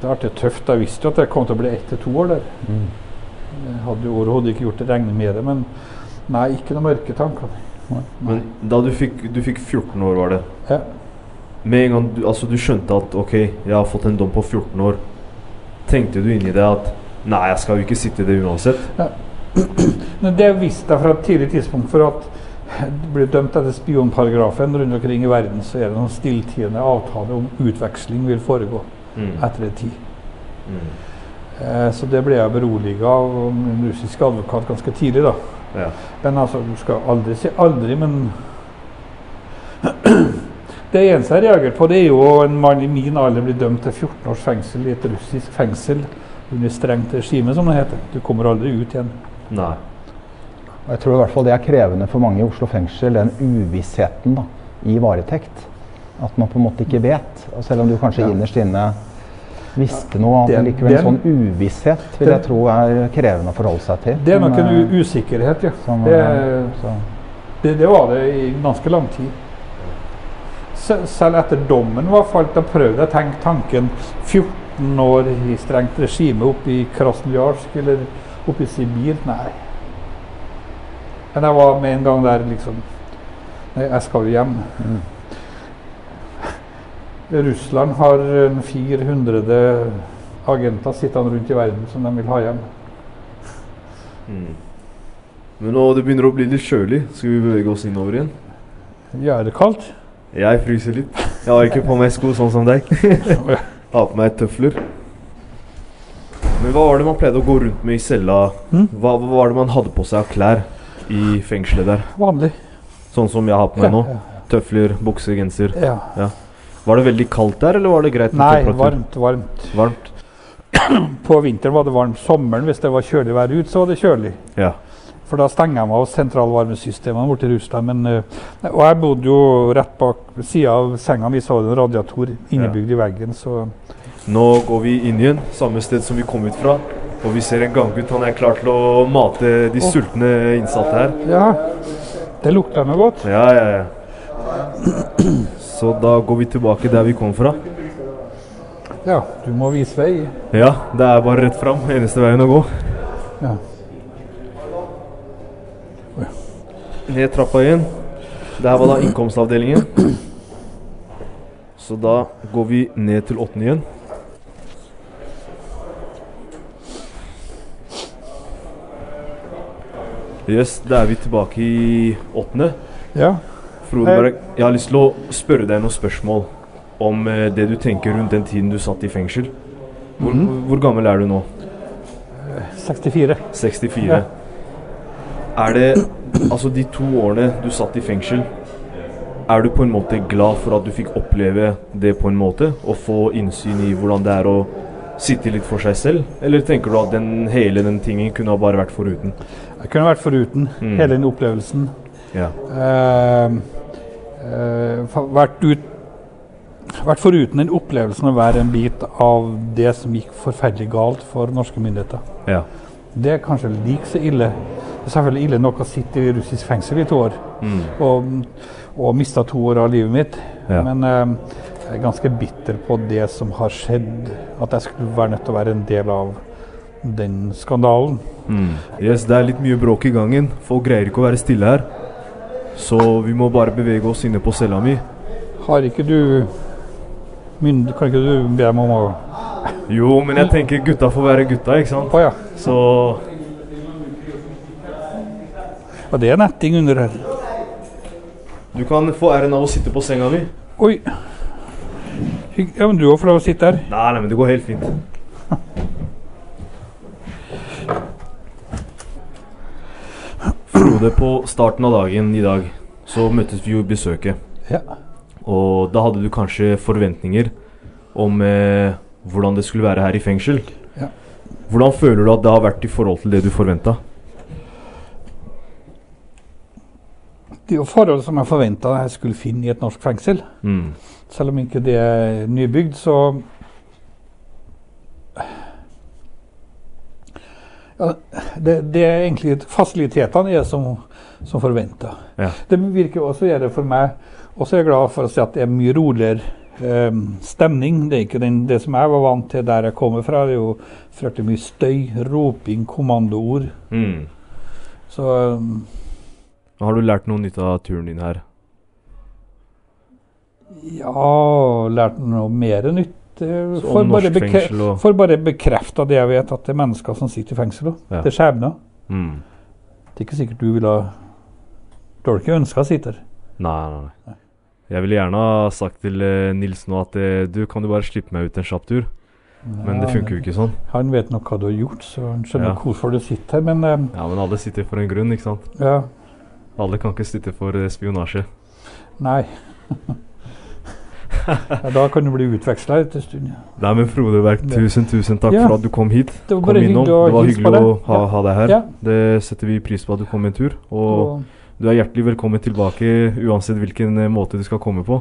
E: det er artig tøft. Jeg visste jo at jeg kom til å bli ett til to år der. Jeg hadde jo overhodet ikke gjort det regne med det, men nei, ikke noen mørke tanker.
D: Men da du fikk, du fikk 14 år, var det?
E: Ja.
D: Med en gang du, altså, du skjønte at ok, jeg har fått en dom på 14 år, tenkte du inni deg at nei, jeg skal jo ikke sitte i det uansett?
E: Men Det visste jeg fra et tidlig tidspunkt, for at du blir dømt etter spionparagrafen rundt omkring i verden, så er det noen stilltiende avtale om utveksling vil foregå
D: Mm.
E: etter en tid.
D: Mm.
E: Eh, så det ble jeg beroliget av og min russiske advokat ganske tidlig, da.
D: Ja.
E: Men altså, du skal aldri si aldri, men *clears throat* Det eneste jeg reagerer på, det er jo en mann i min alder blir dømt til 14 års fengsel i et russisk fengsel under strengt regime, som det heter. Du kommer aldri ut igjen.
D: Nei.
F: Og jeg tror i hvert fall det er krevende for mange i Oslo fengsel, den uvissheten da, i varetekt. At man på en måte ikke vet. Og selv om du kanskje innerst inne visste noe, at det
E: Den-
F: likevel en
E: den-
F: sånn uvisshet vil jeg tro er krevende å forholde seg til.
E: Det er nok
F: Men,
E: en
F: eh,
E: u usikkerhet, ja.
F: som,
E: det,
F: eh, så,
E: det, det var det i ganske lang tid. Se- Selv etter dommen var falt, da prøvde jeg å tenke tanken 14 år i strengt regime oppe i Krasnojarsk eller oppe i Sibir. Nei. Men jeg var med en gang der liksom Nei, jeg skal jo hjem. Russland har en 400 agenter sittende rundt i verden som de vil ha hjem.
D: Mm. Men nå det begynner å bli litt kjølig. Skal vi bevege oss innover igjen?
E: Ja, er det kaldt?
D: Jeg fryser litt. Jeg har ikke på meg sko sånn som deg. har på meg tøfler. Men hva var det man pleide å gå rundt med i cella?
E: Hmm?
D: Hva, hva var det man hadde på seg av klær i fengselet der?
E: Vanlig.
D: Sånn som jeg har på meg
E: Ja,
D: nå. Tøfler, bukse, genser.
E: Ja.
D: Var det veldig kaldt der, eller var det greit? med
E: Nei,
D: temperatur?
E: varmt, varmt.
D: Varmt?
E: På vinteren var det varmt. Sommeren, hvis det var kjølig vær ute, så var det kjølig.
D: Ja.
E: For da stenger de av sentralvarmesystemene borte i Russland. Men, eh, og jeg bodde jo rett bak ved sida av senga mi, så var det en radiator innebygd i veggen. Så
D: Nå går vi inn igjen, samme sted som vi kom ut fra. Og vi ser en ganggutt. Han er klar til å mate de sultne innsatte her.
E: ja, det lukta noe godt.
D: Ja, ja, ja. Så da går vi tilbake der vi kom fra.
E: Ja, du må vise vei.
D: Ja, det er bare rett fram. Eneste veien å gå.
E: Ja.
D: Ned trappa igjen. Det her var da innkomstavdelingen. Så da går vi ned til åttende igjen. Yes, da er vi tilbake i åttende.
E: Ja.
D: Frode
E: Hei.
D: Berg, jeg har lyst til å spørre deg noen spørsmål om eh, det du tenker rundt den tiden du satt i fengsel. Hvor, hvor gammel er du nå?
E: 64.
D: 64.
E: Ja.
D: Er det Altså, de to årene du satt i fengsel, er du på en måte glad for at du fikk oppleve det på en måte? Og få innsyn i hvordan det er å sitte litt for seg selv? Eller tenker du at den hele den tingen kunne ha bare vært foruten?
E: Jeg kunne vært foruten hele den opplevelsen.
D: Ja.
E: Eh, eh, fa- vært ut vært foruten den opplevelsen å være en bit av det som gikk forferdelig galt for norske myndigheter.
D: ja.
E: Det er kanskje like så ille. Det er selvfølgelig ille nok å sitte i russisk fengsel i to år og, og mista to år av livet mitt.
D: Ja.
E: Men eh, jeg er ganske bitter på det som har skjedd. At jeg skulle være nødt til å være en del av den skandalen.
D: Yes, det er litt mye bråk i gangen. Folk greier ikke å være stille her. Så vi må bare bevege oss inne på cella mi.
E: Har ikke du mynd... Kan ikke du be meg om å
D: Jo, men jeg tenker gutta får være gutta, ikke sant?
E: Å ja.
D: Så
E: Og det er netting under her.
D: du kan få æren av å sitte på senga mi.
E: Oi. Hygg- Ja, men du òg får lov å sitte her.
D: Nei, nei, men det går helt fint. Frode, på starten av dagen i dag så møttes vi jo i besøket.
E: Ja.
D: Og da hadde du kanskje forventninger om eh, hvordan det skulle være her i fengsel.
E: Ja.
D: Hvordan føler du at det har vært i forhold til det du forventa?
E: Det er jo forhold som jeg forventa jeg skulle finne i et norsk fengsel.
D: Mm.
E: Selv om ikke det er nybygd, så ja, det, det er egentlig fasilitetene er som, som forventa.
D: Ja.
E: Det virker også å gjøre for meg Også er jeg glad for å si at det er mye roligere em, stemning. Det er ikke den, det som jeg var vant til der jeg kommer fra. Det er jo fryktelig mye støy, roping, kommandoord.
D: Mm.
E: Så ehm, em,
D: Har du lært noe nytt av turen din her?
E: Ja, lært noe mer nytt. eh,
D: Så
E: For
D: om
E: bare,
D: norsk
E: bekre
D: fengsel og-
E: for bare bekrefta det jeg vet, at det er mennesker som sitter i fengsel. også.
D: Ja.
E: Det er skjebner.
D: Mm.
E: Det er ikke sikkert du ville Du har ikke ønska å sitte her.
D: Nei, nei, nei. Jeg ville gjerne ha sagt til eh, Nils nå at eh, du, kan du bare slippe meg ut en kjapp tur? Men det funker jo ikke sånn.
E: Han vet nok hva du har gjort, så han skjønner
D: Ja.
E: hvorfor du sitter her, men eh,
D: Ja, men alle sitter for en grunn, ikke sant?
E: ja,
D: Alle kan ikke sitte for eh, spionasje. *laughs*
E: nei. ja, da kan du bli utveksla en stund. ja.
D: Nei, men Frode Berg,
E: Det-
D: tusen, tusen takk
E: Ja.
D: for at du kom hit.
E: Det var
D: Kom
E: bare
D: innom.
E: hyggelig å
D: Det var
E: hilse på
D: hyggelig
E: deg.
D: å ha,
E: Ja.
D: ha deg her.
E: Ja.
D: Det setter vi pris på at du kom en tur. Og
E: Og
D: du er hjertelig velkommen tilbake uansett hvilken eh, måte du skal komme
E: *laughs*
D: på.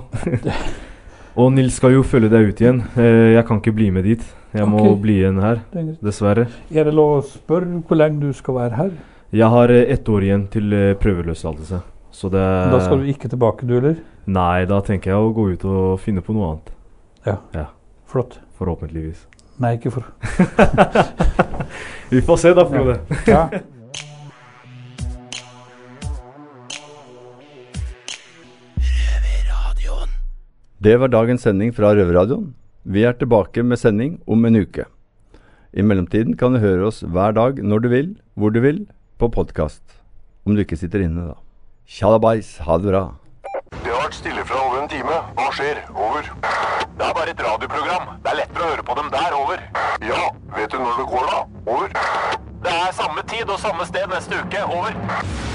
D: og Nils skal jo følge deg ut igjen. Eh, Jeg kan ikke bli med dit. Jeg må
E: Ok.
D: bli igjen her,
E: det er greit.
D: dessverre.
E: er det lov å spørre hvor lenge du skal være her?
D: Jeg har eh, ett år igjen til eh, prøveløslatelse. Så det
E: Da skal du ikke tilbake, du heller?
D: Nei, da tenker jeg å gå ut og finne på noe annet.
E: Flott.
D: Forhåpentligvis.
E: Nei, ikke for
D: Vi får se da, Frode.
E: ja.
C: Det var dagens sending fra Røverradioen. Vi er tilbake med sending om en uke. I mellomtiden kan du høre oss hver dag når du vil, hvor du vil, på podkast. Om du ikke sitter inne, da. Tjalabais, ha det bra.
A: Det har vært stille fra over en time. Hva skjer? Over. Det er bare et radioprogram. Det er lettere å høre på dem der. Over. Ja, vet du når det går, da? Over. Det er samme tid og samme sted neste uke. Over.